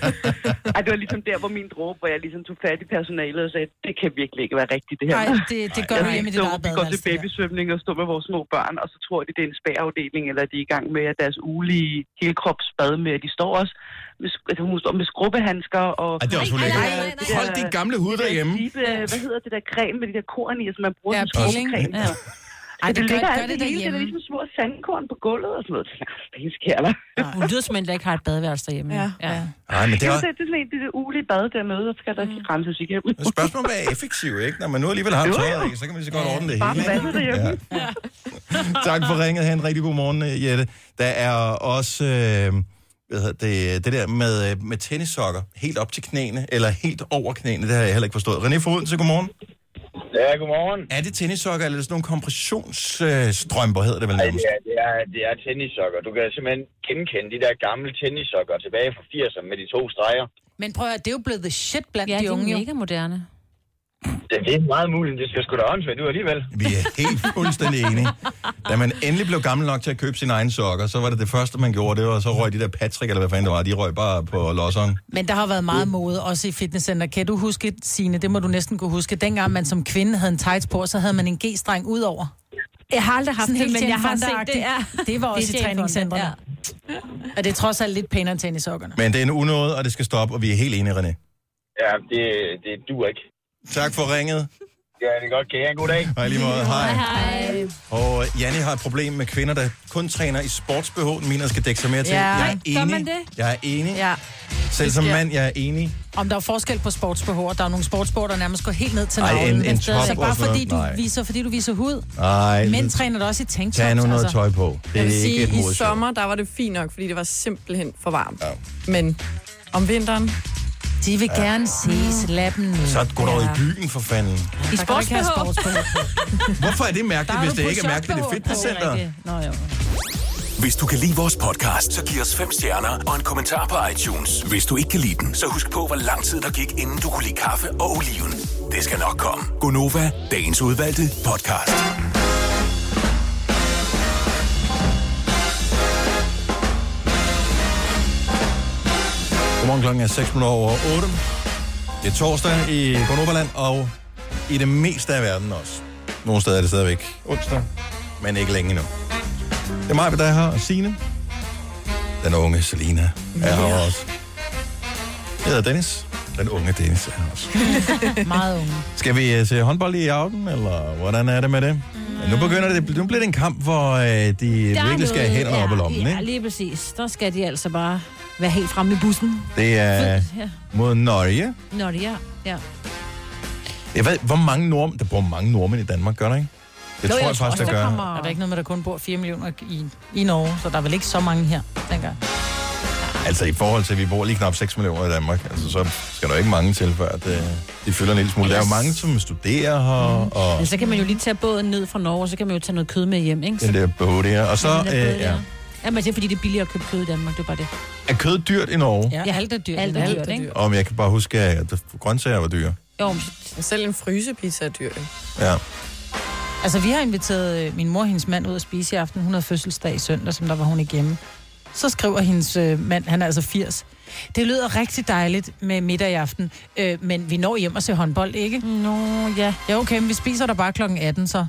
Ej, det var ligesom der, hvor min dråbe, hvor jeg ligesom tog fat i personalet og sagde, det kan virkelig ikke være rigtigt, det her. Nej, det, det gør Jeg du hjemme i dit så, eget vi går til badeværelse. det der. babysvømning og står med vores små børn, og så tror de, det er en spærafdeling, eller de er i gang med at deres ugelige helkropsbad med, at de står også med, sk- altså, hun står med skrubbehandsker og... Ej, det er også ulækkert. nej, nej, nej. Hold dit gamle hud derhjemme. De, øh, hvad hedder det der creme med de der korn i, som man bruger Ja, som peeling. skrubbekrem? Ja. Ej, det gør, ligger gør alt det det hele, det er derhjemme. ligesom små sandkorn på gulvet og sådan noget. Det sker der. Hun lyder som en, der ikke har et badeværelse derhjemme. Ja, ja. Nej, men det Det er er sådan, det er sådan en, det, det ugelige bad dernede, der skal der mm. renses igennem. et spørgsmål, hvad er effektiv, ikke? Når man nu alligevel har Jo, jo. tøjet, ikke? så kan man lige så godt ordne det Bare hele. vandet derhjemme. tak for ringet. Ha' en rigtig god morgen, øh, Jette. Der er også øh, hvad hedder det, det der med, øh, med tennissokker helt op til knæene, eller helt over knæene, det har jeg heller ikke forstået. René Foden, så godmorgen. Ja, godmorgen. Er det tennissokker, eller er det sådan nogle kompressionsstrømper, øh, strømper, hedder det vel Ej, nærmest? det er, det, er, det er tennissokker. Du kan simpelthen genkende de der gamle tennissokker tilbage fra 80'erne med de to streger. Men prøv at høre, det er jo blevet the shit blandt Ja, de unge. de er jo. mega moderne. Det, det er meget muligt, det skal sgu da åndssvagt ud alligevel. Vi er helt fuldstændig enige. Da man endelig blev gammel nok til at købe sine egne sokker, så var det det første, man gjorde, det var, så røg de der Patrick, eller hvad fanden det var, de røg bare på losseren. Men der har været meget mode, også i fitnesscenter. Kan du huske, Signe, det må du næsten kunne huske, dengang man som kvinde havde en tights på, så havde man en G-streng ud over. Jeg har aldrig haft Sådan det, helt men jeg har set Jane det. Ja. Fonda-agtigt. Det var også i Jane Fonda, træningscentrene. ja. Og det er trods alt lidt pænere end tennissokkerne. Men det er en unåde, og det skal stoppe, og vi er helt enige, René. Ja, det, det duer ikke. Tak for ringet, Ja, det er godt. Kan I have en god dag? og i lige måde, hej. Hej. Og Janne har et problem med kvinder, der kun træner i sportsbehåen, mener skal dække sig mere til. Ja. jeg er Nej, enig. gør man det? Jeg er enig. Ja. Ja. Selv som mand, jeg er enig. Om der er forskel på sportsbehår. Der er nogle sportsbehår, der nærmest går helt ned til Ej, navlen. en- en Men stadigvæk. top så bare og sådan fordi noget. du, Nej. viser, fordi du viser hud. Nej, Mænd træner da også i altså? tanktops. tag nu noget tøj på. Det Jeg vil er ikke sige, et i modeshow. sommer, der var det fint nok, fordi det var simpelthen for varmt. Ja. Men om vinteren, De vil gerne ses lappen. Så gå dog i byen for fanden. I Der kan du ikke have sportsbehov. sportsbehår. Hvorfor er det mærkeligt, hvis det ikke er mærkeligt i fitnesscenter? Nå, jo. Hvis du kan lide vores podcast, så giv os fem stjerner og en kommentar på iTunes. Hvis du ikke kan lide den, så husk på, hvor lang tid der gik, inden du kunne lide kaffe og oliven. Det skal nok komme. Gonova, dagens udvalgte podcast. Godmorgen klokken er 6 minutter over 8. Det er torsdag i Gronoverland og i det meste af verden også. Nogle steder er det stadigvæk onsdag, men ikke længe endnu. Det er mig, der er her, og Signe. Den unge Selina er her også. Jeg hedder Dennis. Den unge Dennis er her også. Meget unge. Skal vi øh, se håndbold i aften, eller hvordan er det med det? Mm. Ja, Nu begynder det, nu bliver det en kamp, hvor øh, de virkelig skal have hænderne op i lommen, Ja, ikke? lige præcis. Der skal de altså bare være helt fremme i bussen. Det er Ja. mod Norge. Nå, det er. Ja. Jeg ved, hvor mange nordmænd... Der bor mange nordmænd i Danmark, gør der ikke? Det tror jeg, faktisk, der gør. Der er der ikke noget med, at der kun bor 4 millioner i, i Norge, så der er vel ikke så mange her, tænker jeg. Altså i forhold til, at vi bor lige knap 6 millioner i Danmark, altså, så skal der jo ikke mange til, før at, øh, de fylder en lille smule. Der er jo mange, som studerer her, mm. og Men Altså, så kan man jo lige tage båden ned fra Norge, og så kan man jo tage noget kød med hjem, ikke? Så den der behov der. Og så den øh, der båd ja. der. Ja, men det er fordi, det er billigere at købe kød i Danmark, det er bare det. er kød dyrt i Norge. Ja. Ja, alt er dyrt. Alt er dyrt, ikke? Om jeg kan bare huske, at grøntsager var dyre. Jo, men men selv en frysepizza er dyr. jo. Ja. Altså, vi har inviteret øh, min mor og hendes mand ud at spise i aften. Hun havde fødselsdag i søndag, som der var hun ikke hjemme. Så skriver hendes øh, mand, han er altså 80. Det lyder rigtig dejligt med middag i aften, øh, men vi når hjem og ser håndbold, ikke? Nå, ja. Ja, okay, men vi spiser der bare klokken 18, så.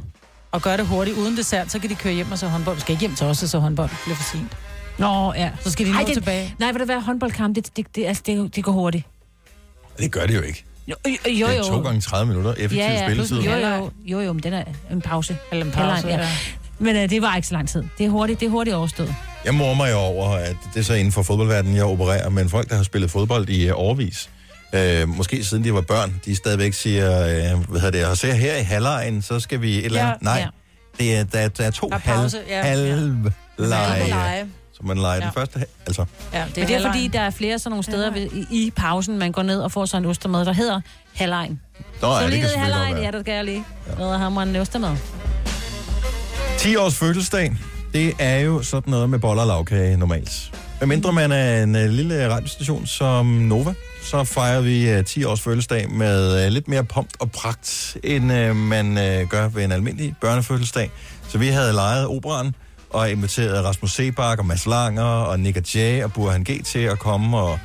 og gør det hurtigt uden dessert, så kan de køre hjem og så håndbold. Vi skal ikke hjem til os, og så håndbold Det bliver for sent. Nå, ja. Så skal de nå Ej, det... det- tilbage. Nej, vil det være håndboldkamp? Det, det, det, altså, det, det går hurtigt. Det gør det jo ikke. Jo, jo, jo. Det er to gange 30 minutter effektiv ja, ja. spilletid. Jo, jo, jo, jo, men den er en pause. Eller en pause, ja. Men øh, det var ikke så lang tid. Det er hurtigt, det er hurtigt overstået. Jeg mormer jo over, at det er så inden for fodboldverdenen, jeg opererer, men folk, der har spillet fodbold i øh, årevis, øh, måske siden de var børn, de stadigvæk siger, øh, hvad hedder det, og ser her i halvlejen, så skal vi et eller andet. Ja, Nej, ja. Det er, der, der er to Der er halv, pause, ja. halvleje, Halvleje. som man leger ja. Ja. den første, hal- altså, Ja, Det er, Men det er fordi, der er flere sådan nogle steder ved, i, i pausen, man går ned og får sig en ostemad, der hedder halvlejen. Nå, ja, så det kan lige ned i selvfølgelig godt halvlejen, være. ja, der skal jeg lige. Ja. Noget har man en ostemad. 10 års fødselsdag, det er jo sådan noget med boller og lavkage normalt. Hvem mindre man er en øh, lille radiostation som Nova, så fejrer vi øh, 10 års fødselsdag med øh, lidt mere pomp og pragt, end øh, man øh, gør ved en almindelig børnefødselsdag. Så vi havde lejet operan og inviteret Rasmus Sebak og Mads Langer og Nick og Jay og Burhan G til at komme og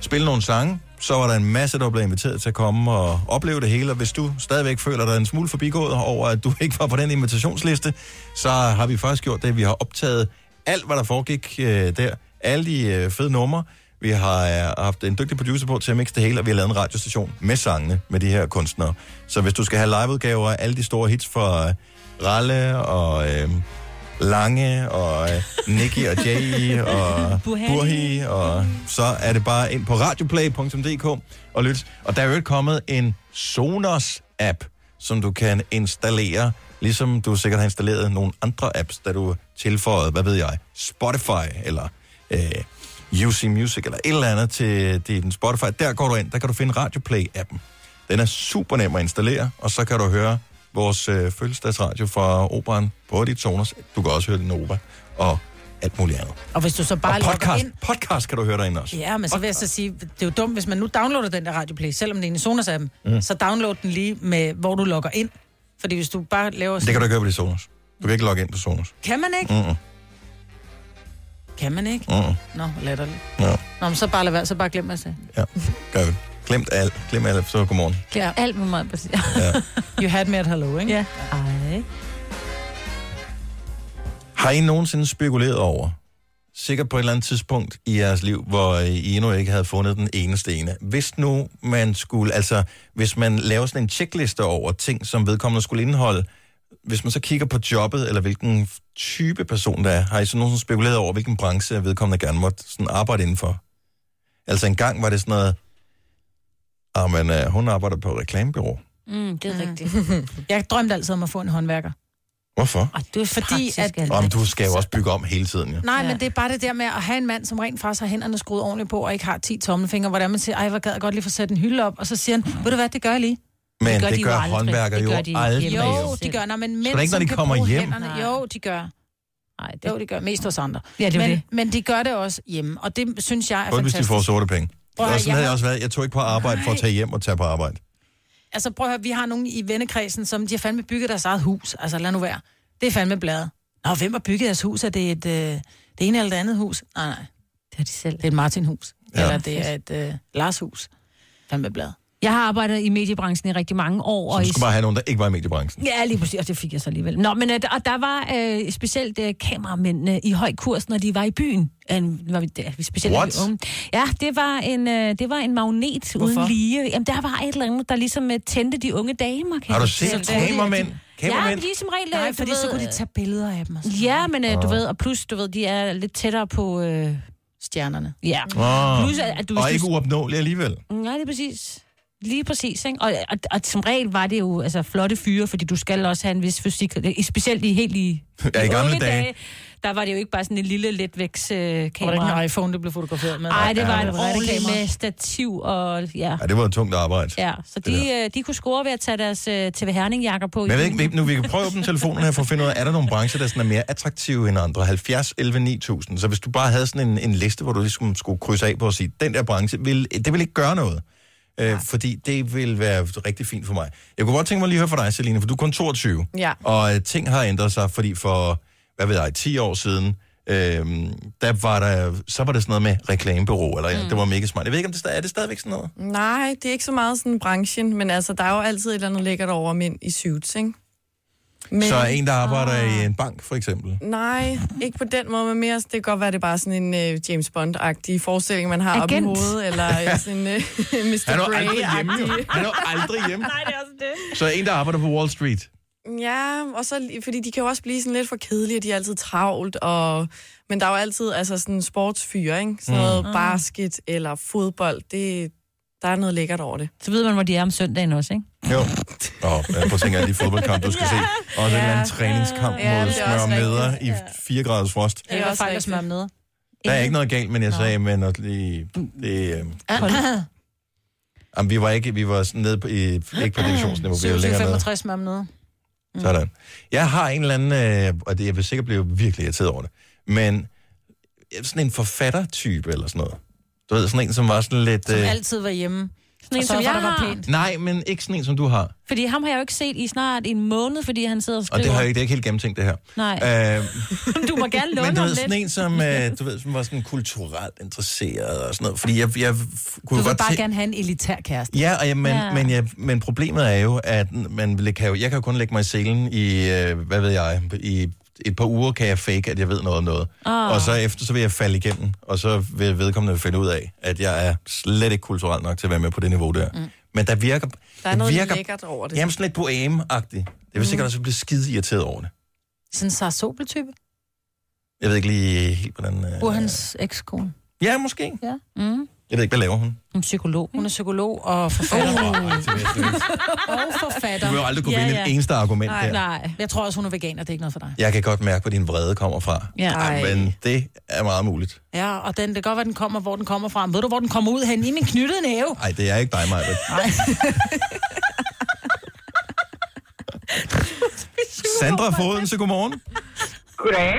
spille nogle sange. Så var der en masse, der blev inviteret til at komme og opleve det hele. Og hvis du stadigvæk føler dig en smule forbigået over, at du ikke var på den invitationsliste, så har vi faktisk gjort det. Vi har optaget alt, hvad der foregik øh, der. Alle de øh, fede numre. Vi har øh, haft en dygtig producer på til at mixe det hele, og vi har lavet en radiostation med sangene med de her kunstnere. Så hvis du skal have liveudgaver af alle de store hits fra øh, Ralle og øh, Lange og øh, Nicky og Jay og Burhani. Burhi, og så er det bare ind på radioplay.dk og lyt. Og der er jo ikke kommet en Sonos-app, som du kan installere, ligesom du sikkert har installeret nogle andre apps, da du tilføjede, hvad ved jeg, Spotify eller øh, UC Music eller et eller andet til din Spotify. Der går du ind, der kan du finde Radioplay-appen. Den er super nem at installere, og så kan du høre vores øh, fødselsdagsradio fra operan på dit Sonos. Du kan også høre din opera og alt muligt andet. Og hvis du så bare og logger podcast, ind- podcast kan du høre derinde også. Ja, men så vil jeg så sige, det er jo dumt, hvis man nu downloader den der radioplay, selvom det er en i Sonos-appen, Mm. mm. så download den lige med, hvor du logger ind. Fordi hvis du bare laver... Det kan du ikke gøre på dit Sonos. Du kan ikke Mm. logge ind på Sonos. Kan man ikke? Mm. Mm-mm. Kan man ikke? Mm-mm. Nå, latterligt. Ja, Nå, men så bare lad være, så bare glem mig det. gør vi. Glemt alt. Glem alt, så godmorgen. Glem ja. alt med mig. Ja. you had me at hello, ikke? Ja. Ej. Har I nogensinde spekuleret over, sikkert på et eller andet tidspunkt i jeres liv, hvor øh, I endnu ikke havde fundet den eneste ene? Hvis nu man skulle, altså hvis man laver sådan en checkliste over ting, som vedkommende skulle indeholde, hvis man så kigger på jobbet, eller hvilken type person der er, har I så nogensinde spekuleret over, hvilken branche vedkommende gerne måtte sådan arbejde indenfor? Altså engang var det sådan noget, ah, men, øh, hun arbejder på et reklamebyrå. Mm, det er mm. rigtigt. jeg drømte altid om at få en håndværker. Hvorfor? Og det er fordi, at... Om du skal jo også bygge om hele tiden, jo. Nej, men det er bare det der med at have en mand, som rent faktisk har hænderne skruet ordentligt på, og ikke har 10 tommelfingre, hvordan man siger, ej, hvor gad jeg godt lige få sat en hylde op, og så siger han, ved du hvad, det gør jeg lige. Men det det gør, gør de jo aldrig. håndværkere Det jo gør aldrig. de jo, jo, de gør, nej, men mænd, Så det er ikke, når som de kan kommer bruge hjem? Hænderne, Nej. jo, de gør. Nej, det... Jo, de gør. Mest hos andre. Ja, det er jo men, det. men de gør det også hjemme, og det synes jeg er Kun hvis de fantastisk. får sorte penge. Prøv at Og høre, sådan jeg havde har- jeg også været. Jeg tog ikke på arbejde for at tage hjem og tage på arbejde. Altså prøv at høre, vi har nogen i vennekredsen, som de har fandme bygget deres eget hus. Altså lad nu være. Det er fandme bladet. Nå, hvem har bygget deres hus? Er det et, øh, det ene eller det andet hus? Nej, nej. Det er de selv. Det er et Martin-hus. Ja. Ja. Eller det er et øh, Lars-hus. Fandme bladet. Jeg har arbejdet i mediebranchen i rigtig mange år. Så og du i skulle bare have nogen, der ikke var i mediebranchen. Ja, lige præcis, og det fik jeg så alligevel. Nå, men øh, og der var øh, specielt øh, kameramændene i høj kurs, når de var i byen. Øh, var vi, der, vi specielt What? Unge. Ja, det var en, øh, det var en magnet Hvorfor? uden lige. Jamen, der var et eller andet, der ligesom øh, tændte de unge damer. kan Har du jeg set fortælle dig. kameramænd? Ja, men Kameramænd? de er som regel... Nej, øh, du fordi så kunne de øh, tage billeder af dem. Og Ja, men øh, du Ah. ved, og plus, du ved, de er lidt tættere på... Øh, Stjernerne. Ja. Oh. Plus, at, at du, og hvis ikke du, uopnåelig alligevel. Nej, det er præcis. Lige præcis, ikke? Og, og, og som regel var det jo altså, flotte fyre, fordi du skal også have en vis fysik, i- specielt i helt i, Ja, i gamle unge dage. Der var det jo ikke bare sådan en lille letvæks øh, Var det ikke kamera. en iPhone, det blev fotograferet med? Nej, det var Ja, et var et ordentligt kamera. med stativ og... Ja. Ja, det var et tungt arbejde. ja. Så de, øh, de kunne score ved at tage deres øh, TV Herning-jakker på. Men jeg ved ikke, vi- nu vi kan prøve at åbne telefonen her for at finde ud af, er der nogle brancher, der sådan er mere attraktive end andre? 70, 11, 9000. Så hvis du bare havde sådan en, en liste, hvor du ligesom skulle krydse af på at sige, den der branche, vil, det vil ikke gøre noget. Øh, fordi det vil være rigtig fint for mig. Jeg kunne godt tænke mig lige at høre fra dig, Celine, for du er kun 22. Ja. Og øh, ting har ændret sig, fordi for, hvad ved jeg, 10 år siden, øh, der var der, så var det sådan noget med reklamebureau, eller mm. det var mega smart. Jeg ved ikke, om det stadig, er det stadigvæk sådan noget? Nej, det er ikke så meget sådan branchen, men altså, der er jo altid et eller andet lækkert over mænd i suits, ikke? Men... Men- Så en, der arbejder i en bank, for eksempel. Nej, ikke på den måde, men mere, det kan godt være, det er bare sådan en uh, James Bond-agtig forestilling, man har oppe i Agent. hovedet, eller øh, sådan en uh, Mr. Han er jo aldrig hjemme, jo. Grey-agtig. Han er jo aldrig hjemme. Nej, det er også det. Så en, der arbejder på Wall Street. Ja, og så, lige- fordi de kan jo også blive sådan lidt for kedelige, og de er altid travlt, og, men der er jo altid altså sådan sportsfyre, ikke? Sådan noget Mm. basket eller fodbold, det, der er noget lækkert over det. Så ved man, hvor de er om søndagen også, ikke? Jo. Nå, jeg prøver at tænke alle de fodboldkampe, du skal se. Og en eller anden træningskamp Ja, men mod det er også smør meder i 4 graders frost. Det var også faktisk rigtigt. smør med. Der er ikke noget galt, men jeg sagde, men at lige, det, øh, jamen, vi var ikke, vi var sådan nede på, i, ikke på divisionsniveau, vi var længere nede. 65 smør med. Mm. Sådan. Jeg har en eller anden, øh, og det, jeg vil sikkert blive virkelig irriteret over det, men øh, sådan en forfattertype eller sådan noget. Du ved, sådan en, som var sådan lidt... Som Øh, altid var hjemme. Sådan en, Og så som var jeg der har. var pænt. nej, men ikke sådan en, som du har. Fordi ham har jeg jo ikke set i snart en måned, fordi han sidder og Og skriver. det, har jeg ikke, det er ikke helt gennemtænkt, det her. Nej, Øh, du må gerne låne men du ham ved, sådan lidt. en, som, øh, du ved, som var sådan kulturelt interesseret og sådan noget. Fordi jeg, jeg kunne godt Du vil bare tæ- gerne have en elitær kæreste. Ja, og jeg, men, ja. Ja. Men, jeg, men problemet er jo, at man vil- kan jo, jeg kan jo kun lægge mig i selen i, øh, hvad ved jeg, i et par uger kan jeg fake, at jeg ved noget om noget. Åh. Og så efter, så vil jeg falde igennem, og så vil vedkommende finde ud af, at jeg er slet ikke kulturelt nok til at være med på det niveau der. Mm. Men der virker... Der er noget virker, lækkert over det. Jamen sådan lidt boheme-agtigt. Jeg vil sikkert også blive skide irriteret over det. Sådan en Sarah Sobel-type. Jeg ved ikke lige helt, hvordan... Øh... Hun er hans ekskone. Ja, måske. Ja. Mm. Jeg ved ikke, hvad laver hun? En psykolog. Hun er psykolog og forfatter. Oh. Ej, det vil jeg slet ikke. og forfatter. du vil jo aldrig kunne Ja, vinde ja. et eneste argument Nej, der. Nej. Jeg tror også, hun er veganer. Det er ikke noget for dig. Jeg kan godt mærke, hvor din vrede kommer fra. Ja. Ej. Men det er meget muligt. Ja, og den, det kan godt være, den kommer, hvor den kommer fra. Men Ved du, hvor den kommer ud hen? I min knyttede næve. Nej, det er ikke dig, Maja. Sandra Foden, så godmorgen. Goddag.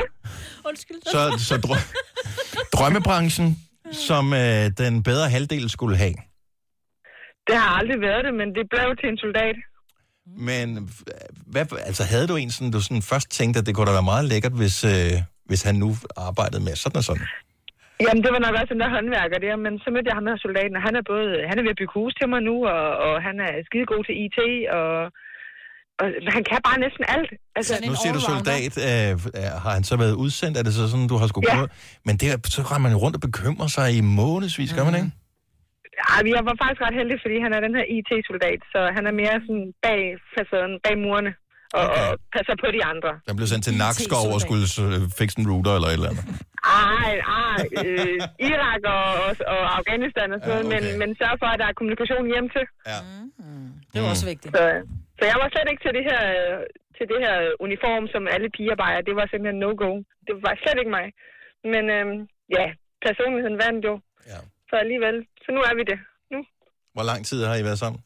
Undskyld. Så, så drø drømmebranchen, som øh, den bedre halvdel skulle have. Det har aldrig været det, men det blev til en soldat. Men øh, hvad, altså, havde du en, sådan, du sådan først tænkte, at det kunne da være meget lækkert, hvis, øh, hvis han nu arbejdede med sådan og sådan? Jamen, det var nok også en der håndværker der, men så mødte jeg ham her soldaten, og han er både, han er ved at bygge hus til mig nu, og, og han er skide god til IT, og, og han kan bare næsten alt. Altså, Sådan en Nu siger du allrounder. soldat. Øh, øh, har han så været udsendt? Er det så sådan, du har skulle Ja. ja. Men det, er- så rammer man jo rundt og bekymrer sig i månedsvis, gør man ikke? ej, jeg var faktisk ret heldig, fordi han er den her IT-soldat, så han er mere sådan bag facaden, bag murene, og, Okay. okay. og passer på de andre. Den blev sendt til Nakskov og skulle øh, fikse en router eller et eller andet. Ej, ej, øh, Irak og, og, og Afghanistan og sådan Ja, noget, men, okay. men sørg for, at der er kommunikation hjem til. Ja. Det er jo også vigtigt. Så, så jeg var slet ikke til det her, øh, til det her uniform, som alle piger bærer. Det var simpelthen no-go. Det var slet ikke mig. Men øhm, ja, personligheden vandt jo. Ja. Så alligevel, så nu er vi det. Nu. Hvor lang tid har I været sammen?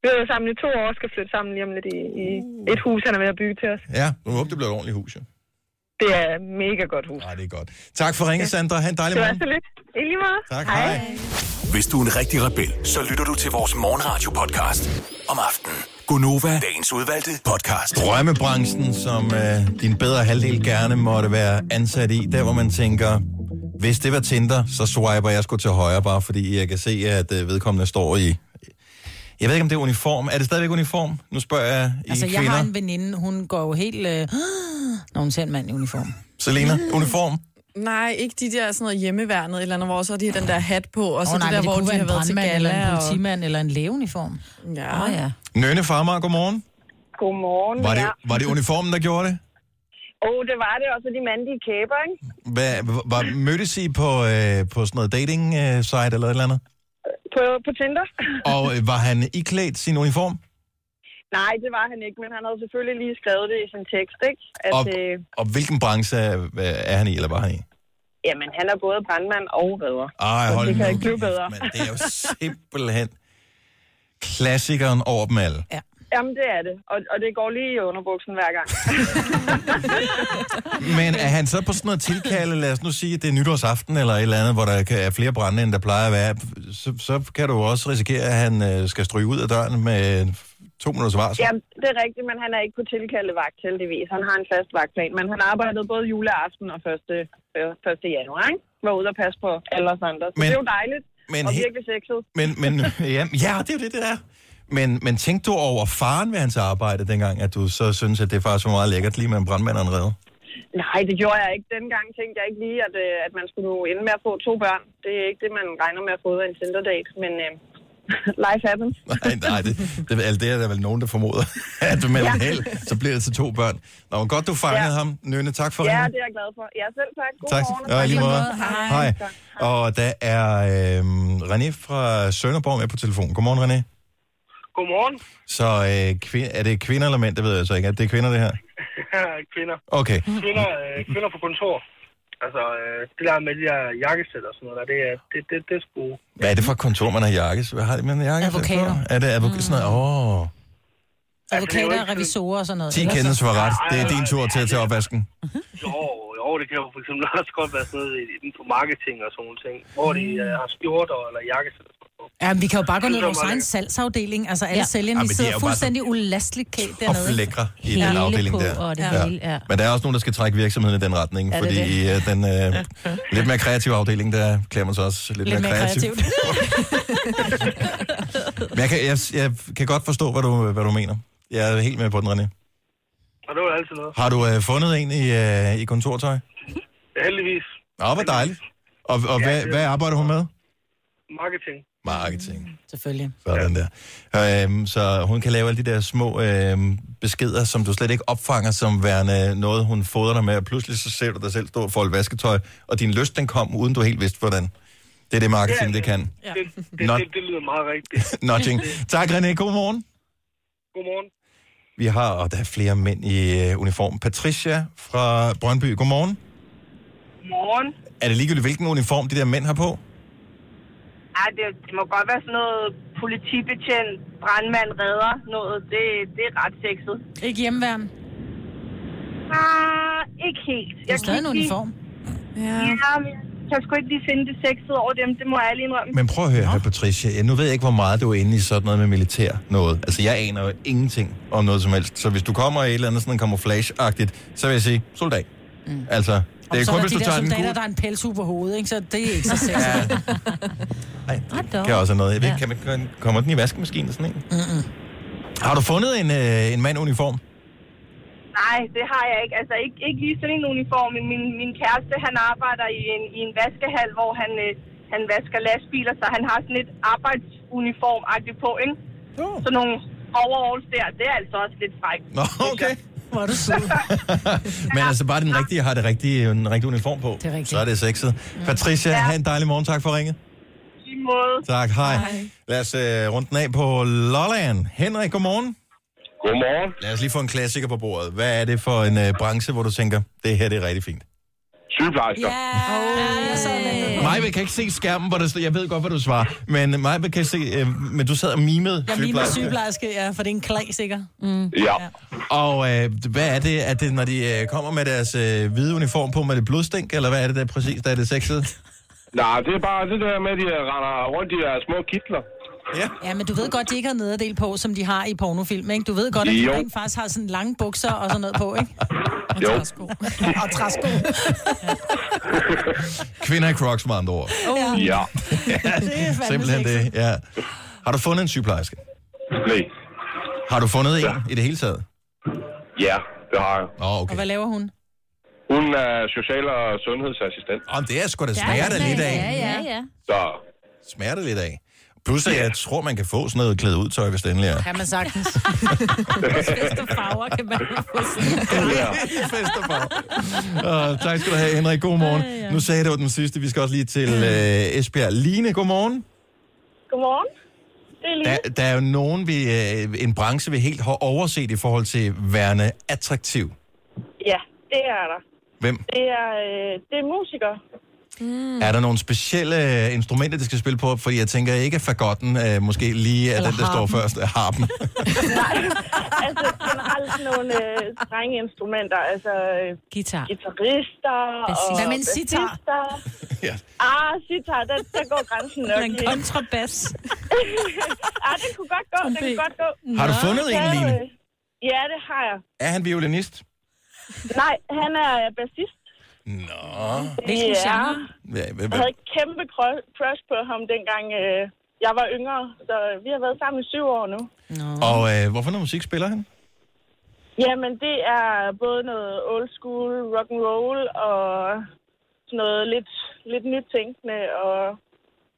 Vi har været sammen i to år og skal flytte sammen lige om lidt i, i Uh. et hus, han er ved at bygge til os. Ja, nu håber det bliver et ordentligt hus, jo. Det er et mega godt hus. Nej, Ah, det er godt. Tak for ringet, Sandra. Ha' en dejlig Det var morgen. så lidt. I lige måde. Tak, hej. Hvis du er en rigtig rebel, så lytter du til vores morgenradio-podcast om aftenen. Gunova, dagens udvalgte podcast. Drømmebranchen, som øh, din bedre halvdel gerne måtte være ansat i, der hvor man tænker, hvis det var Tinder, så swiper jeg sgu til højre, bare fordi jeg kan se, at øh, vedkommende står i... Jeg ved ikke, om det er uniform. Er det stadigvæk uniform? Nu spørger jeg I Altså, kvinder. jeg har en veninde, hun går jo helt... Øh, når hun ser en mand i uniform. Selena, uniform? Nej, ikke de der sådan noget hjemmeværnet et eller andet, hvor så de har den der hat på, og så Åh, oh, nej, det der, men det hvor kunne de være har en været til brandmand, eller en gala. Og... politimand, eller en lægeuniform. Ja. Åh, ja. Nønne Farmer, godmorgen. Godmorgen. Var det, var det uniformen, der gjorde det? Åh, oh, det var det. Og så de mandige kæber, ikke? Hvad, var, mødtes I på, øh, på sådan noget dating-site eller et eller andet? På, på Tinder? Og øh, var han iklædt sin uniform? Nej, det var han ikke, men han havde selvfølgelig lige skrevet det i sin tekst, ikke? At, Og, og... øh, og hvilken branche er, er han i, eller var han i? jamen, han er både brandmand og redder. Ej, hold det kan nu ikke blive kæft, bedre. mand. Det er jo simpelthen klassikeren over dem alle. Jamen, det er det. Og, og det går lige i underbuksen hver gang. Men er han så på sådan noget tilkalde, lad os nu sige, at det er nytårsaften eller et eller andet, hvor der kan- er flere brænde, end der plejer at være, så, så kan du jo også risikere, at han øh, skal stryge ud af døren med to minutters varsel. Jamen, det er rigtigt, men han er ikke på tilkaldevagt, heldigvis. Han har en fast vagtplan, men han arbejdede både juleaften og 1. Øh, 1. januar, ikke? Var ude og passe på alle os andre. Så Men- men, det er jo dejligt, Men og he- virkelig sexet. Men, men ja, ja, det er jo det, det er. Men, men tænkte du over faren ved hans arbejde dengang, at du så synes, at det faktisk var meget lækkert lige med en brandmand og en redder? Nej, det gjorde jeg ikke. Dengang tænkte jeg ikke lige, at, øh, at man skulle ende med at få to børn. Det er ikke det, man regner med at få ud af en Tinder-date, men øh, life happens. Nej, nej, det, det, altså, det er der vel nogen, der formoder, at med ja. held, så bliver det til to børn. Nå, men godt, du fangede ja. ham, Nynne. Tak for Ja, ringen. det er jeg glad for. Ja, selv tak. God Tak. morgen. og Ja, i lige måde. Hej. Hej. Og der er øhm, René fra Sønderborg med på telefonen. Godmorgen, René. Godmorgen, Så øh, kvi- er det kvinder eller mænd? Det ved jeg så ikke. Er det kvinder, det her? kvinder. Okay. Kvinder, øh, kvinder på kontor. Altså, øh, det der med de der jakkesæt og sådan noget, der, det er, det, det, det er sgu... Hvad er det for et kontor, man har jakkes? Hvad har det med en jakke? Advokater. Er det advokater? Mm. Sådan noget. Åh, oh, Advokater, revisorer og sådan noget. 10 kendelser for ret. Det er din tur til at tage opvasken. Jo, jo, det kan jo for eksempel også godt være sådan noget inden for marketing og sådan nogle ting, hvor de øh, har skjorter eller jakkesæt. Ja, men vi kan jo bare gå ned i vores egen salgsafdeling. Altså alle ja. Ja. sælgerne, Ja, de men de er sidder jo bare fuldstændig ulasteligt kædt Og dernede. lækre i Hele den afdeling på, der. og det ja. hele, ja. Men der er også nogen, der skal trække virksomheden i den retning, Ja, det er fordi det. øh, den øh, lidt mere kreative afdeling, der klæder man sig også lidt, Lidt mere kreativt. kreativt. Men jeg kan, jeg, jeg kan godt forstå, hvad du, hvad du mener. Jeg er helt med på den, René. Og det var altid noget. Har du øh, fundet en i, øh, i kontortøj? Ja, heldigvis. Ja, hvor dejligt. Og, og hvad, hvad arbejder hun med? Marketing. Marketing. Selvfølgelig. Sådan der. Øhm, så hun kan lave alle de der små øhm, beskeder, som du slet ikke opfanger som værende noget, hun fodrer dig med, og pludselig så ser du dig selv stå og folde vasketøj, og din lyst den kom, uden du helt vidste, hvordan. Det er det marketing, det kan. Ja. Det, det, Nå. det, det, lyder meget rigtigt. Nudging. Tak, René. God morgen. Godmorgen. Vi har, og der er flere mænd i øh, uniform. Patricia fra Brøndby, godmorgen. Morgen. Er det ligegyldigt, hvilken uniform de der mænd har på? Ej, det, det må godt være sådan noget politibetjent, brandmand, redder, noget. Det, det er ret sexet. Ikke hjemmeværn? Ah, ikke helt. Det er stadig kan en ikke uniform. Lige... Ja. ja, men jeg kan sgu ikke lige finde det sexede over dem, det må jeg ærligt indrømme. Men prøv at høre her, Patricia. Jeg nu ved jeg ikke, hvor meget du er inde i sådan noget med militær noget. Altså, jeg aner jo ingenting om noget som helst. Så hvis du kommer i et eller andet sådan camouflage-agtigt, så vil jeg sige, soldat. Mm. Altså, det Og er så er kun, der hvis de du der tager den soldater, gule. der er en pels på hovedet, ikke? så det er ikke så sexet. Det kan også være noget. Jeg ved, ikke, kan man, kan, kommer den i vaskemaskinen sådan en? Mm. Mm-mm. Har du fundet en, øh, en mand i uniform? Nej, det har jeg ikke. Altså ikke, ikke lige sådan en uniform. men Min, min kæreste, han arbejder i en, i en vaskehal, hvor han, øh, han vasker lastbiler, så han har sådan et arbejdsuniform på, ikke? Oh. Så nogle overalls der, det er altså også lidt frækt. Nå, okay. Hvor er du sød. Men altså, bare den rigtige har det rigtige, en rigtig uniform på. Det er Så er det sexet. Mm. Patricia, ja. have en dejlig morgen. Tak for ringet. I måde. Tak, hej. Hej. Lad os uh, runde den af på Lolland. Henrik, godmorgen. Godmorgen. Lad os lige få en klassiker på bordet. Hvad er det for en uh, branche, hvor du tænker, det her det er rigtig fint? Sygeplejersker. Øh. Majbe kan ikke se skærmen, hvor der står, jeg ved godt, hvad du svarer, men Majbe kan se, uh, men du sad og mimede Jeg mimer sygeplejerske, ja, for det er en klag, sikkert. Mm. Ja. Og uh, hvad er det, at det, når de uh, kommer med deres uh, hvide uniform på med det blodstænk, eller hvad er det der præcis, der er det sexede? Nej, det er bare det der med, at de render rundt i de der små kitler. Ja. Ja, men du ved godt, de ikke har nederdel på, som de har i pornofilm, ikke? Du ved godt, at de Jo. rent faktisk har sådan lange bukser og sådan noget på, ikke? Jo. Og træsko. Kvinder i crocs med andre ord. Oh. Ja. Det er fandme Simpelthen det, ja. Har du fundet en sygeplejerske? Nej. Har du fundet en i det hele taget? Ja, det har jeg. Åh, oh, okay. Og hvad laver hun? Hun er social- og sundhedsassistent. Om det er sgu da smerter lidt af. Ja, ja, ja. Så Smerter lidt af. Pludselig, jeg tror, man kan få sådan noget klædt ud tøj, hvis det endelig er. Kan man sagtens. Fest og farver kan man få Fest og farver. Og tak skal du have, Henrik. God morgen. Nu sagde jeg, det var den sidste. Vi skal også lige til øh, Esbjerg. Line, god morgen. Godmorgen. Det er Line. Der, der er jo nogen, vi, øh, en branche, vi helt har overset i forhold til værende attraktiv. Ja, det er der. Hvem? Det er, øh, det er musikere. Mm. Er der nogle specielle øh, instrumenter, de skal spille på? Fordi jeg tænker ikke, at fagotten øh, måske lige er Eller den, der står harpen. først. Harpen. Nej, altså generelt nogle øh, strenge instrumenter. Altså øh, Guitar. guitarister Bassist. og Hvad med en sitar? bassister. ja. Ah, sitar, der, der går grænsen nok. Eller en kontrabas. ah, det kunne godt gå, det kunne godt gå. Har du fundet Det en, kan, Line? øh, Ja, det har jeg. Er han violinist? Nej, han er øh, bassist. Nå. Hvilken Ja. genre? Ja, hvad- Jeg hvad- havde et kæmpe cru- crush på ham dengang, øh, jeg var yngre, så vi har været sammen i syv år nu. Og øh, hvorfor noget musik spiller han? Jamen, det er både noget old school rock and roll og sådan noget lidt, lidt nyt tænkende. Og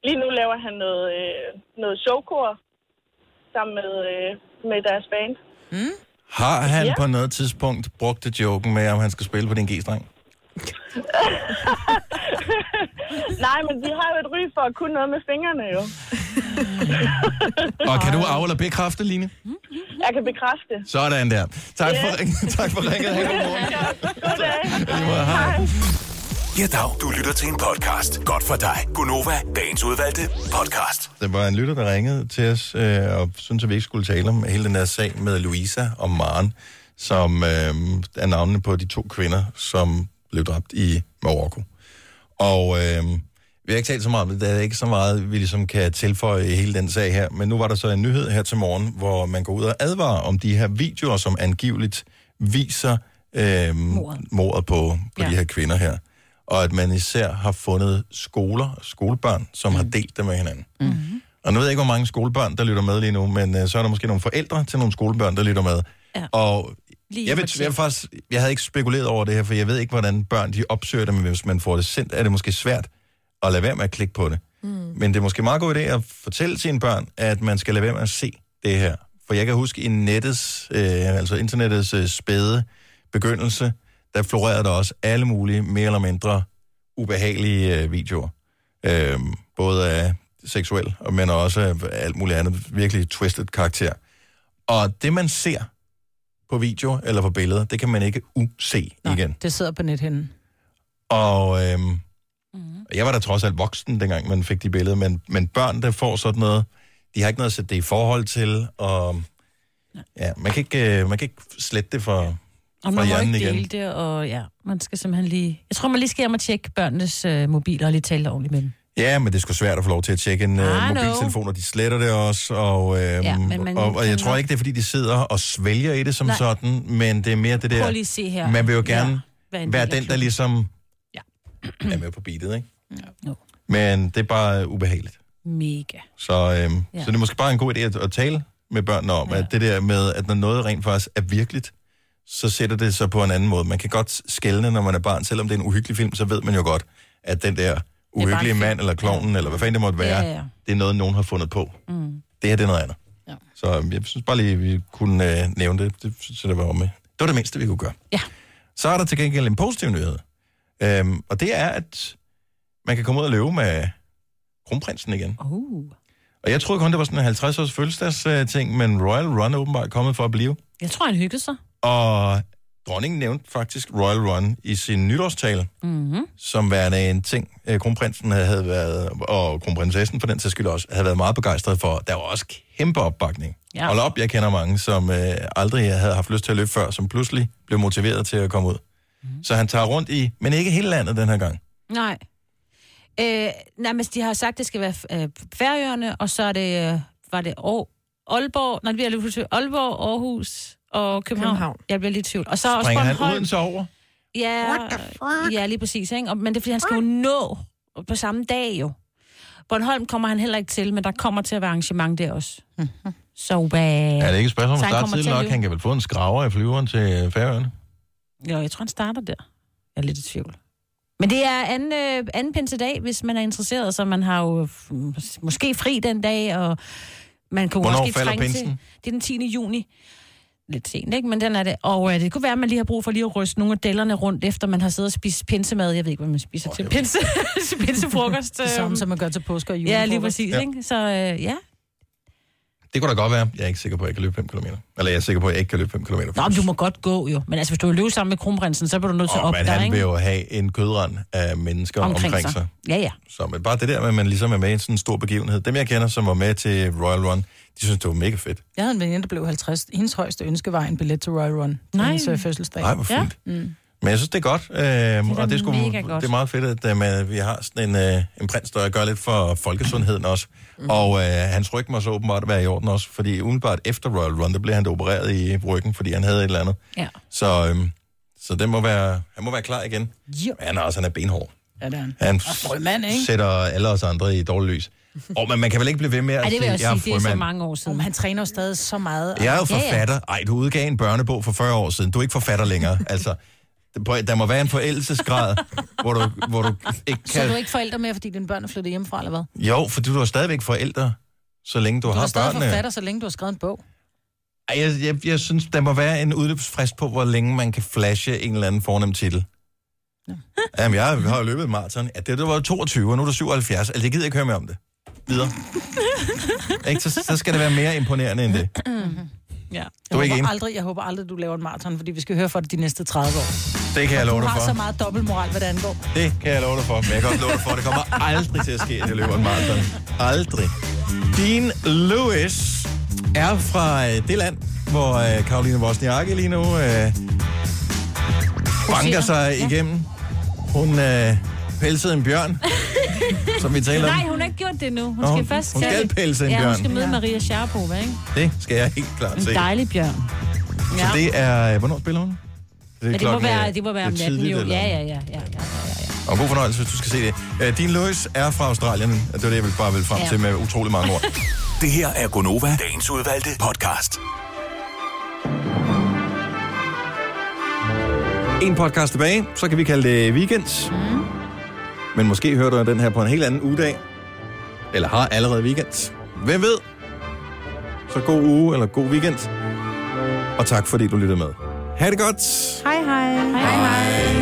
lige nu laver han noget, øh, noget showkor sammen med, øh, med deres band. Har han Ja. ja. på noget tidspunkt brugt det joken med, om han skal spille på din G-streng? Nej, men de har jo et ry for at kunne noget med fingrene jo. Og kan du af- eller bekræfte, Line? Jeg kan bekræfte. Sådan der. Tak for, yeah. tak for ringet. Ha' en god morgen. I måde, Hej. Ja, dag. Du lytter til en podcast. Godt for dig. Gunova, dagens udvalgte podcast. Der var en lytter, der ringede til os, øh, og syntes, at vi ikke skulle tale om hele den her sag med Louisa og Maren, som øh, er navnene på de to kvinder, som blev dræbt i Marokko. Og øh, vi har ikke talt så meget om det, der er ikke så meget, vi ligesom kan tilføje i hele den sag her, men nu var der så en nyhed her til morgen, hvor man går ud og advarer om de her videoer, som angiveligt viser øh, mordet. mordet på, på ja. de her kvinder her. Og at man især har fundet skoler, skolebørn, som mm. har delt det med hinanden. Og nu ved jeg ikke, hvor mange skolebørn, der lytter med lige nu, men øh, så er der måske nogle forældre til nogle skolebørn, der lytter med. Ja. Og Lige jeg, for ved, tiden. jeg, vil faktisk, jeg havde ikke spekuleret over det her, for jeg ved ikke, hvordan børn de opsøger det, men hvis man får det sendt, er det måske svært at lade være med at klikke på det. Mm. Men det er måske en meget god idé at fortælle sine børn, at man skal lade være med at se det her. For jeg kan huske i nettets, øh, altså internettets øh, spæde begyndelse, der florerede der også alle mulige mere eller mindre ubehagelige øh, videoer. Øh, både af seksuel, men også af alt muligt andet. Virkelig twisted karakter. Og det, man ser på video eller på billeder, det kan man ikke use igen. Det sidder på nethinden. Og øhm, mm. Mhm. jeg var da trods alt voksen, dengang man fik de billeder, men, men børn, der får sådan noget, de har ikke noget at sætte det i forhold til, og ja, man, kan ikke, øh, man kan ikke slette det for, Og fra man må hjernen ikke igen. dele igen. det, og ja, man skal simpelthen lige... Jeg tror, man lige skal hjem og tjekke børnenes øh, mobiler og lige tale ordentligt med dem. Ja, men det er sgu svært at få lov til at tjekke en I øh, know. mobiltelefon, og de sletter det også, og, øhm, Ah, Ja, men man og, og kan jeg tror nok- ikke, det er, fordi de sidder og svælger i det som Nej. Nej. sådan, men det er mere det der, Prøv lige at se her. man vil jo Ja, gerne vær ja, en være del af den, der klubben. ligesom ja. er med på beatet, ikke? Ja. Men det er bare ubehageligt. Mega. Så, øhm, Ja. ja. så det er måske bare en god idé at, at tale med børnene om, ja. at det der med, at når noget rent faktisk er virkeligt, så sætter det sig på en anden måde. Man kan godt skælne, når man er barn, selvom det er en uhyggelig film, så ved man jo godt, at den der uhyggelige mand, eller klovnen, ja. eller hvad fanden det måtte være, Ja, ja, ja. det er noget, nogen har fundet på. Mm. Det her, det er noget andet. Ja. Så øhm, jeg synes bare lige, vi kunne øh, nævne det. Det synes jeg, det var med. Det var det mindste, vi kunne gøre. Ja. Så er der til gengæld en positiv nyhed. Øhm, og det er, at man kan komme ud og løbe med kronprinsen igen. Uh. Og jeg troede kun, det var sådan en 50-års fødselsdags øh, ting, men Royal Run er åbenbart kommet for at blive. Jeg tror, han hyggede sig. Og dronningen nævnte faktisk Royal Run i sin nytårstale, Mm-hmm. som værende en ting, øh, kronprinsen havde- havde været, og kronprinsessen for den sags skyld også, havde været meget begejstret for. Der var også kæmpe opbakning. Ja. Ja. Hold op, jeg kender mange, som øh, aldrig havde haft lyst til at løbe før, som pludselig blev motiveret til at komme ud. Mhm. Mm. Så han tager rundt i, men ikke hele landet den her gang. Nej. Øh, nej, men de har sagt, det skal være øh, Færøerne, og så er det, øh, var det Aar- Aalborg, nej, vi er lidt i tvivl. Aalborg, Aarhus og København. København. Jeg bliver lidt i tvivl. Og så også Bringer han Bornholm. Odense over? Ja, ja, lige præcis. Ikke? Og, men det er, fordi han skal jo nå på samme dag jo. Bornholm kommer han heller ikke til, men der kommer til at være arrangement der også. Mm-hmm. Så hvad... Ja, Er er det ikke et spørgsmål om at starte tidligt nok? Han... Han kan vel få en skraver i flyveren til øh, færøerne? Jo, jeg tror, han starter der. Jeg er lidt i tvivl. Men det er anden, øh, anden pinsedag, hvis man er interesseret, så man har jo mm, måske fri den dag, og man kunne Hvornår måske falder trænge til... pinsen? Det er den 10. juni. Lidt sent, ikke? Men den er det. Og øh, det kunne være, at man lige har brug for lige at ryste nogle af dellerne rundt, efter man har siddet og spist pinsemad. Jeg ved ikke, hvad man spiser oh, til pinse, til pinsefrokost. Det samme, øhm. som man gør til påske og julefrokost. Ja, lige præcis. Ja. Ikke? Så øh, ja. Det kunne da godt være. Jeg er ikke sikker på, at jeg kan løbe 5 km. Eller jeg er sikker på, at jeg ikke kan løbe 5 km. Nå, men du må godt gå jo. Men altså, hvis du vil løbe sammen med kronprinsen, så bliver du nødt til at Og op man, der, han ikke? vil jo have en kødrand af mennesker omkring, omkring sig. sig. Ja, ja. Så men bare det der med, at man ligesom er med i sådan en stor begivenhed. Dem, jeg kender, som var med til Royal Run, de synes, det var mega fedt. Jeg havde en veninde, der blev 50. Hendes højeste ønske var en billet til Royal Run. Nej. Hendes øh, fødselsdag. Nej, hvor fint. Ja. Mm. Men jeg synes, det er godt. Øh, det og det er, sgu, mega godt. det er meget fedt, at øh, man, vi har sådan en, øh, en prins, der gør lidt for folkesundheden også. Mhm. Mm. Og øh, hans ryg må så åbenbart være i orden også, fordi umiddelbart efter Royal Run, der blev han da opereret i ryggen, fordi han havde et eller andet. Ja. Så, øhm, så den må være, han må være klar igen. Men Han er også han er benhård. Ja, det er han. Han Og frømand, ikke? sætter alle os andre i dårligt lys. Og man, man kan vel ikke blive ved med at Ej, det vil jeg også er sige, det er så frømand." mange år siden. Om han træner jo stadig så meget. Jeg er jo forfatter. Ej, du udgav en børnebog for 40 år siden. Du er ikke forfatter længere. Altså, på- der må være en forældelsesgrad, hvor du, hvor du ikke Så er kan... du ikke forældre mere, fordi dine børn er flyttet hjemmefra, eller hvad? Jo, for du er stadigvæk forældre, så længe du, Du har er stadig børnene. forfatter, så længe du har skrevet en bog. Ej, jeg, jeg, jeg synes, der må være en udløbsfrist på, hvor længe man kan flashe en eller anden fornem titel. Ja. Jamen, jeg har- har jo løbet maraton. Ja, det, det var 22, og nu er du 77. Altså, jeg gider ikke høre mere om det. Videre. ikke? Så, så skal det være mere imponerende end det. Mm-hmm. Ja. Mhm. Du Jeg, er ikke håber enig? aldrig, jeg håber aldrig, du laver en maraton, fordi vi skal høre for det de næste 30 år. Det kan jeg love Du dig har så for. meget dobbeltmoral, hvad det angår. Det kan jeg love dig for. Men jeg kan godt love dig for, at det kommer aldrig til at ske, at jeg løber en maraton. Aldrig. Dean Lewis er fra øh, det land, hvor øh, Karoline Wozniacki lige nu øh, banker sig igennem. Hun øh, pelsede en bjørn, som vi taler om. Nej, hun har ikke gjort det nu. Hun Nå, skal hun- først... hun skal pelse en Ja, hun bjørn. skal møde Ja. Maria Sharapova, ikke? Det skal jeg helt klart se. En dejlig bjørn. Altså, Så det er... øh, Hvornår spiller hun? Det, Men det, må klokken, øh, være, det må være om lidt natten, tidligt, jo. eller- Ja, ja, ja. ja. Og god fornøjelse, hvis du skal se det. Øh, Dean Lewis er fra Australien, og det var det, jeg ville bare ville frem Ja. til med utrolig mange ord. Det her er Gonova, dagens udvalgte podcast. En podcast tilbage, så kan vi kalde det weekend. Mm. Men måske hører du den her på en helt anden ugedag. Eller har allerede weekend. Hvem ved? Så god uge eller god weekend. Og tak fordi du lyttede med. Ha' det godt. Hej hej. Hej hej.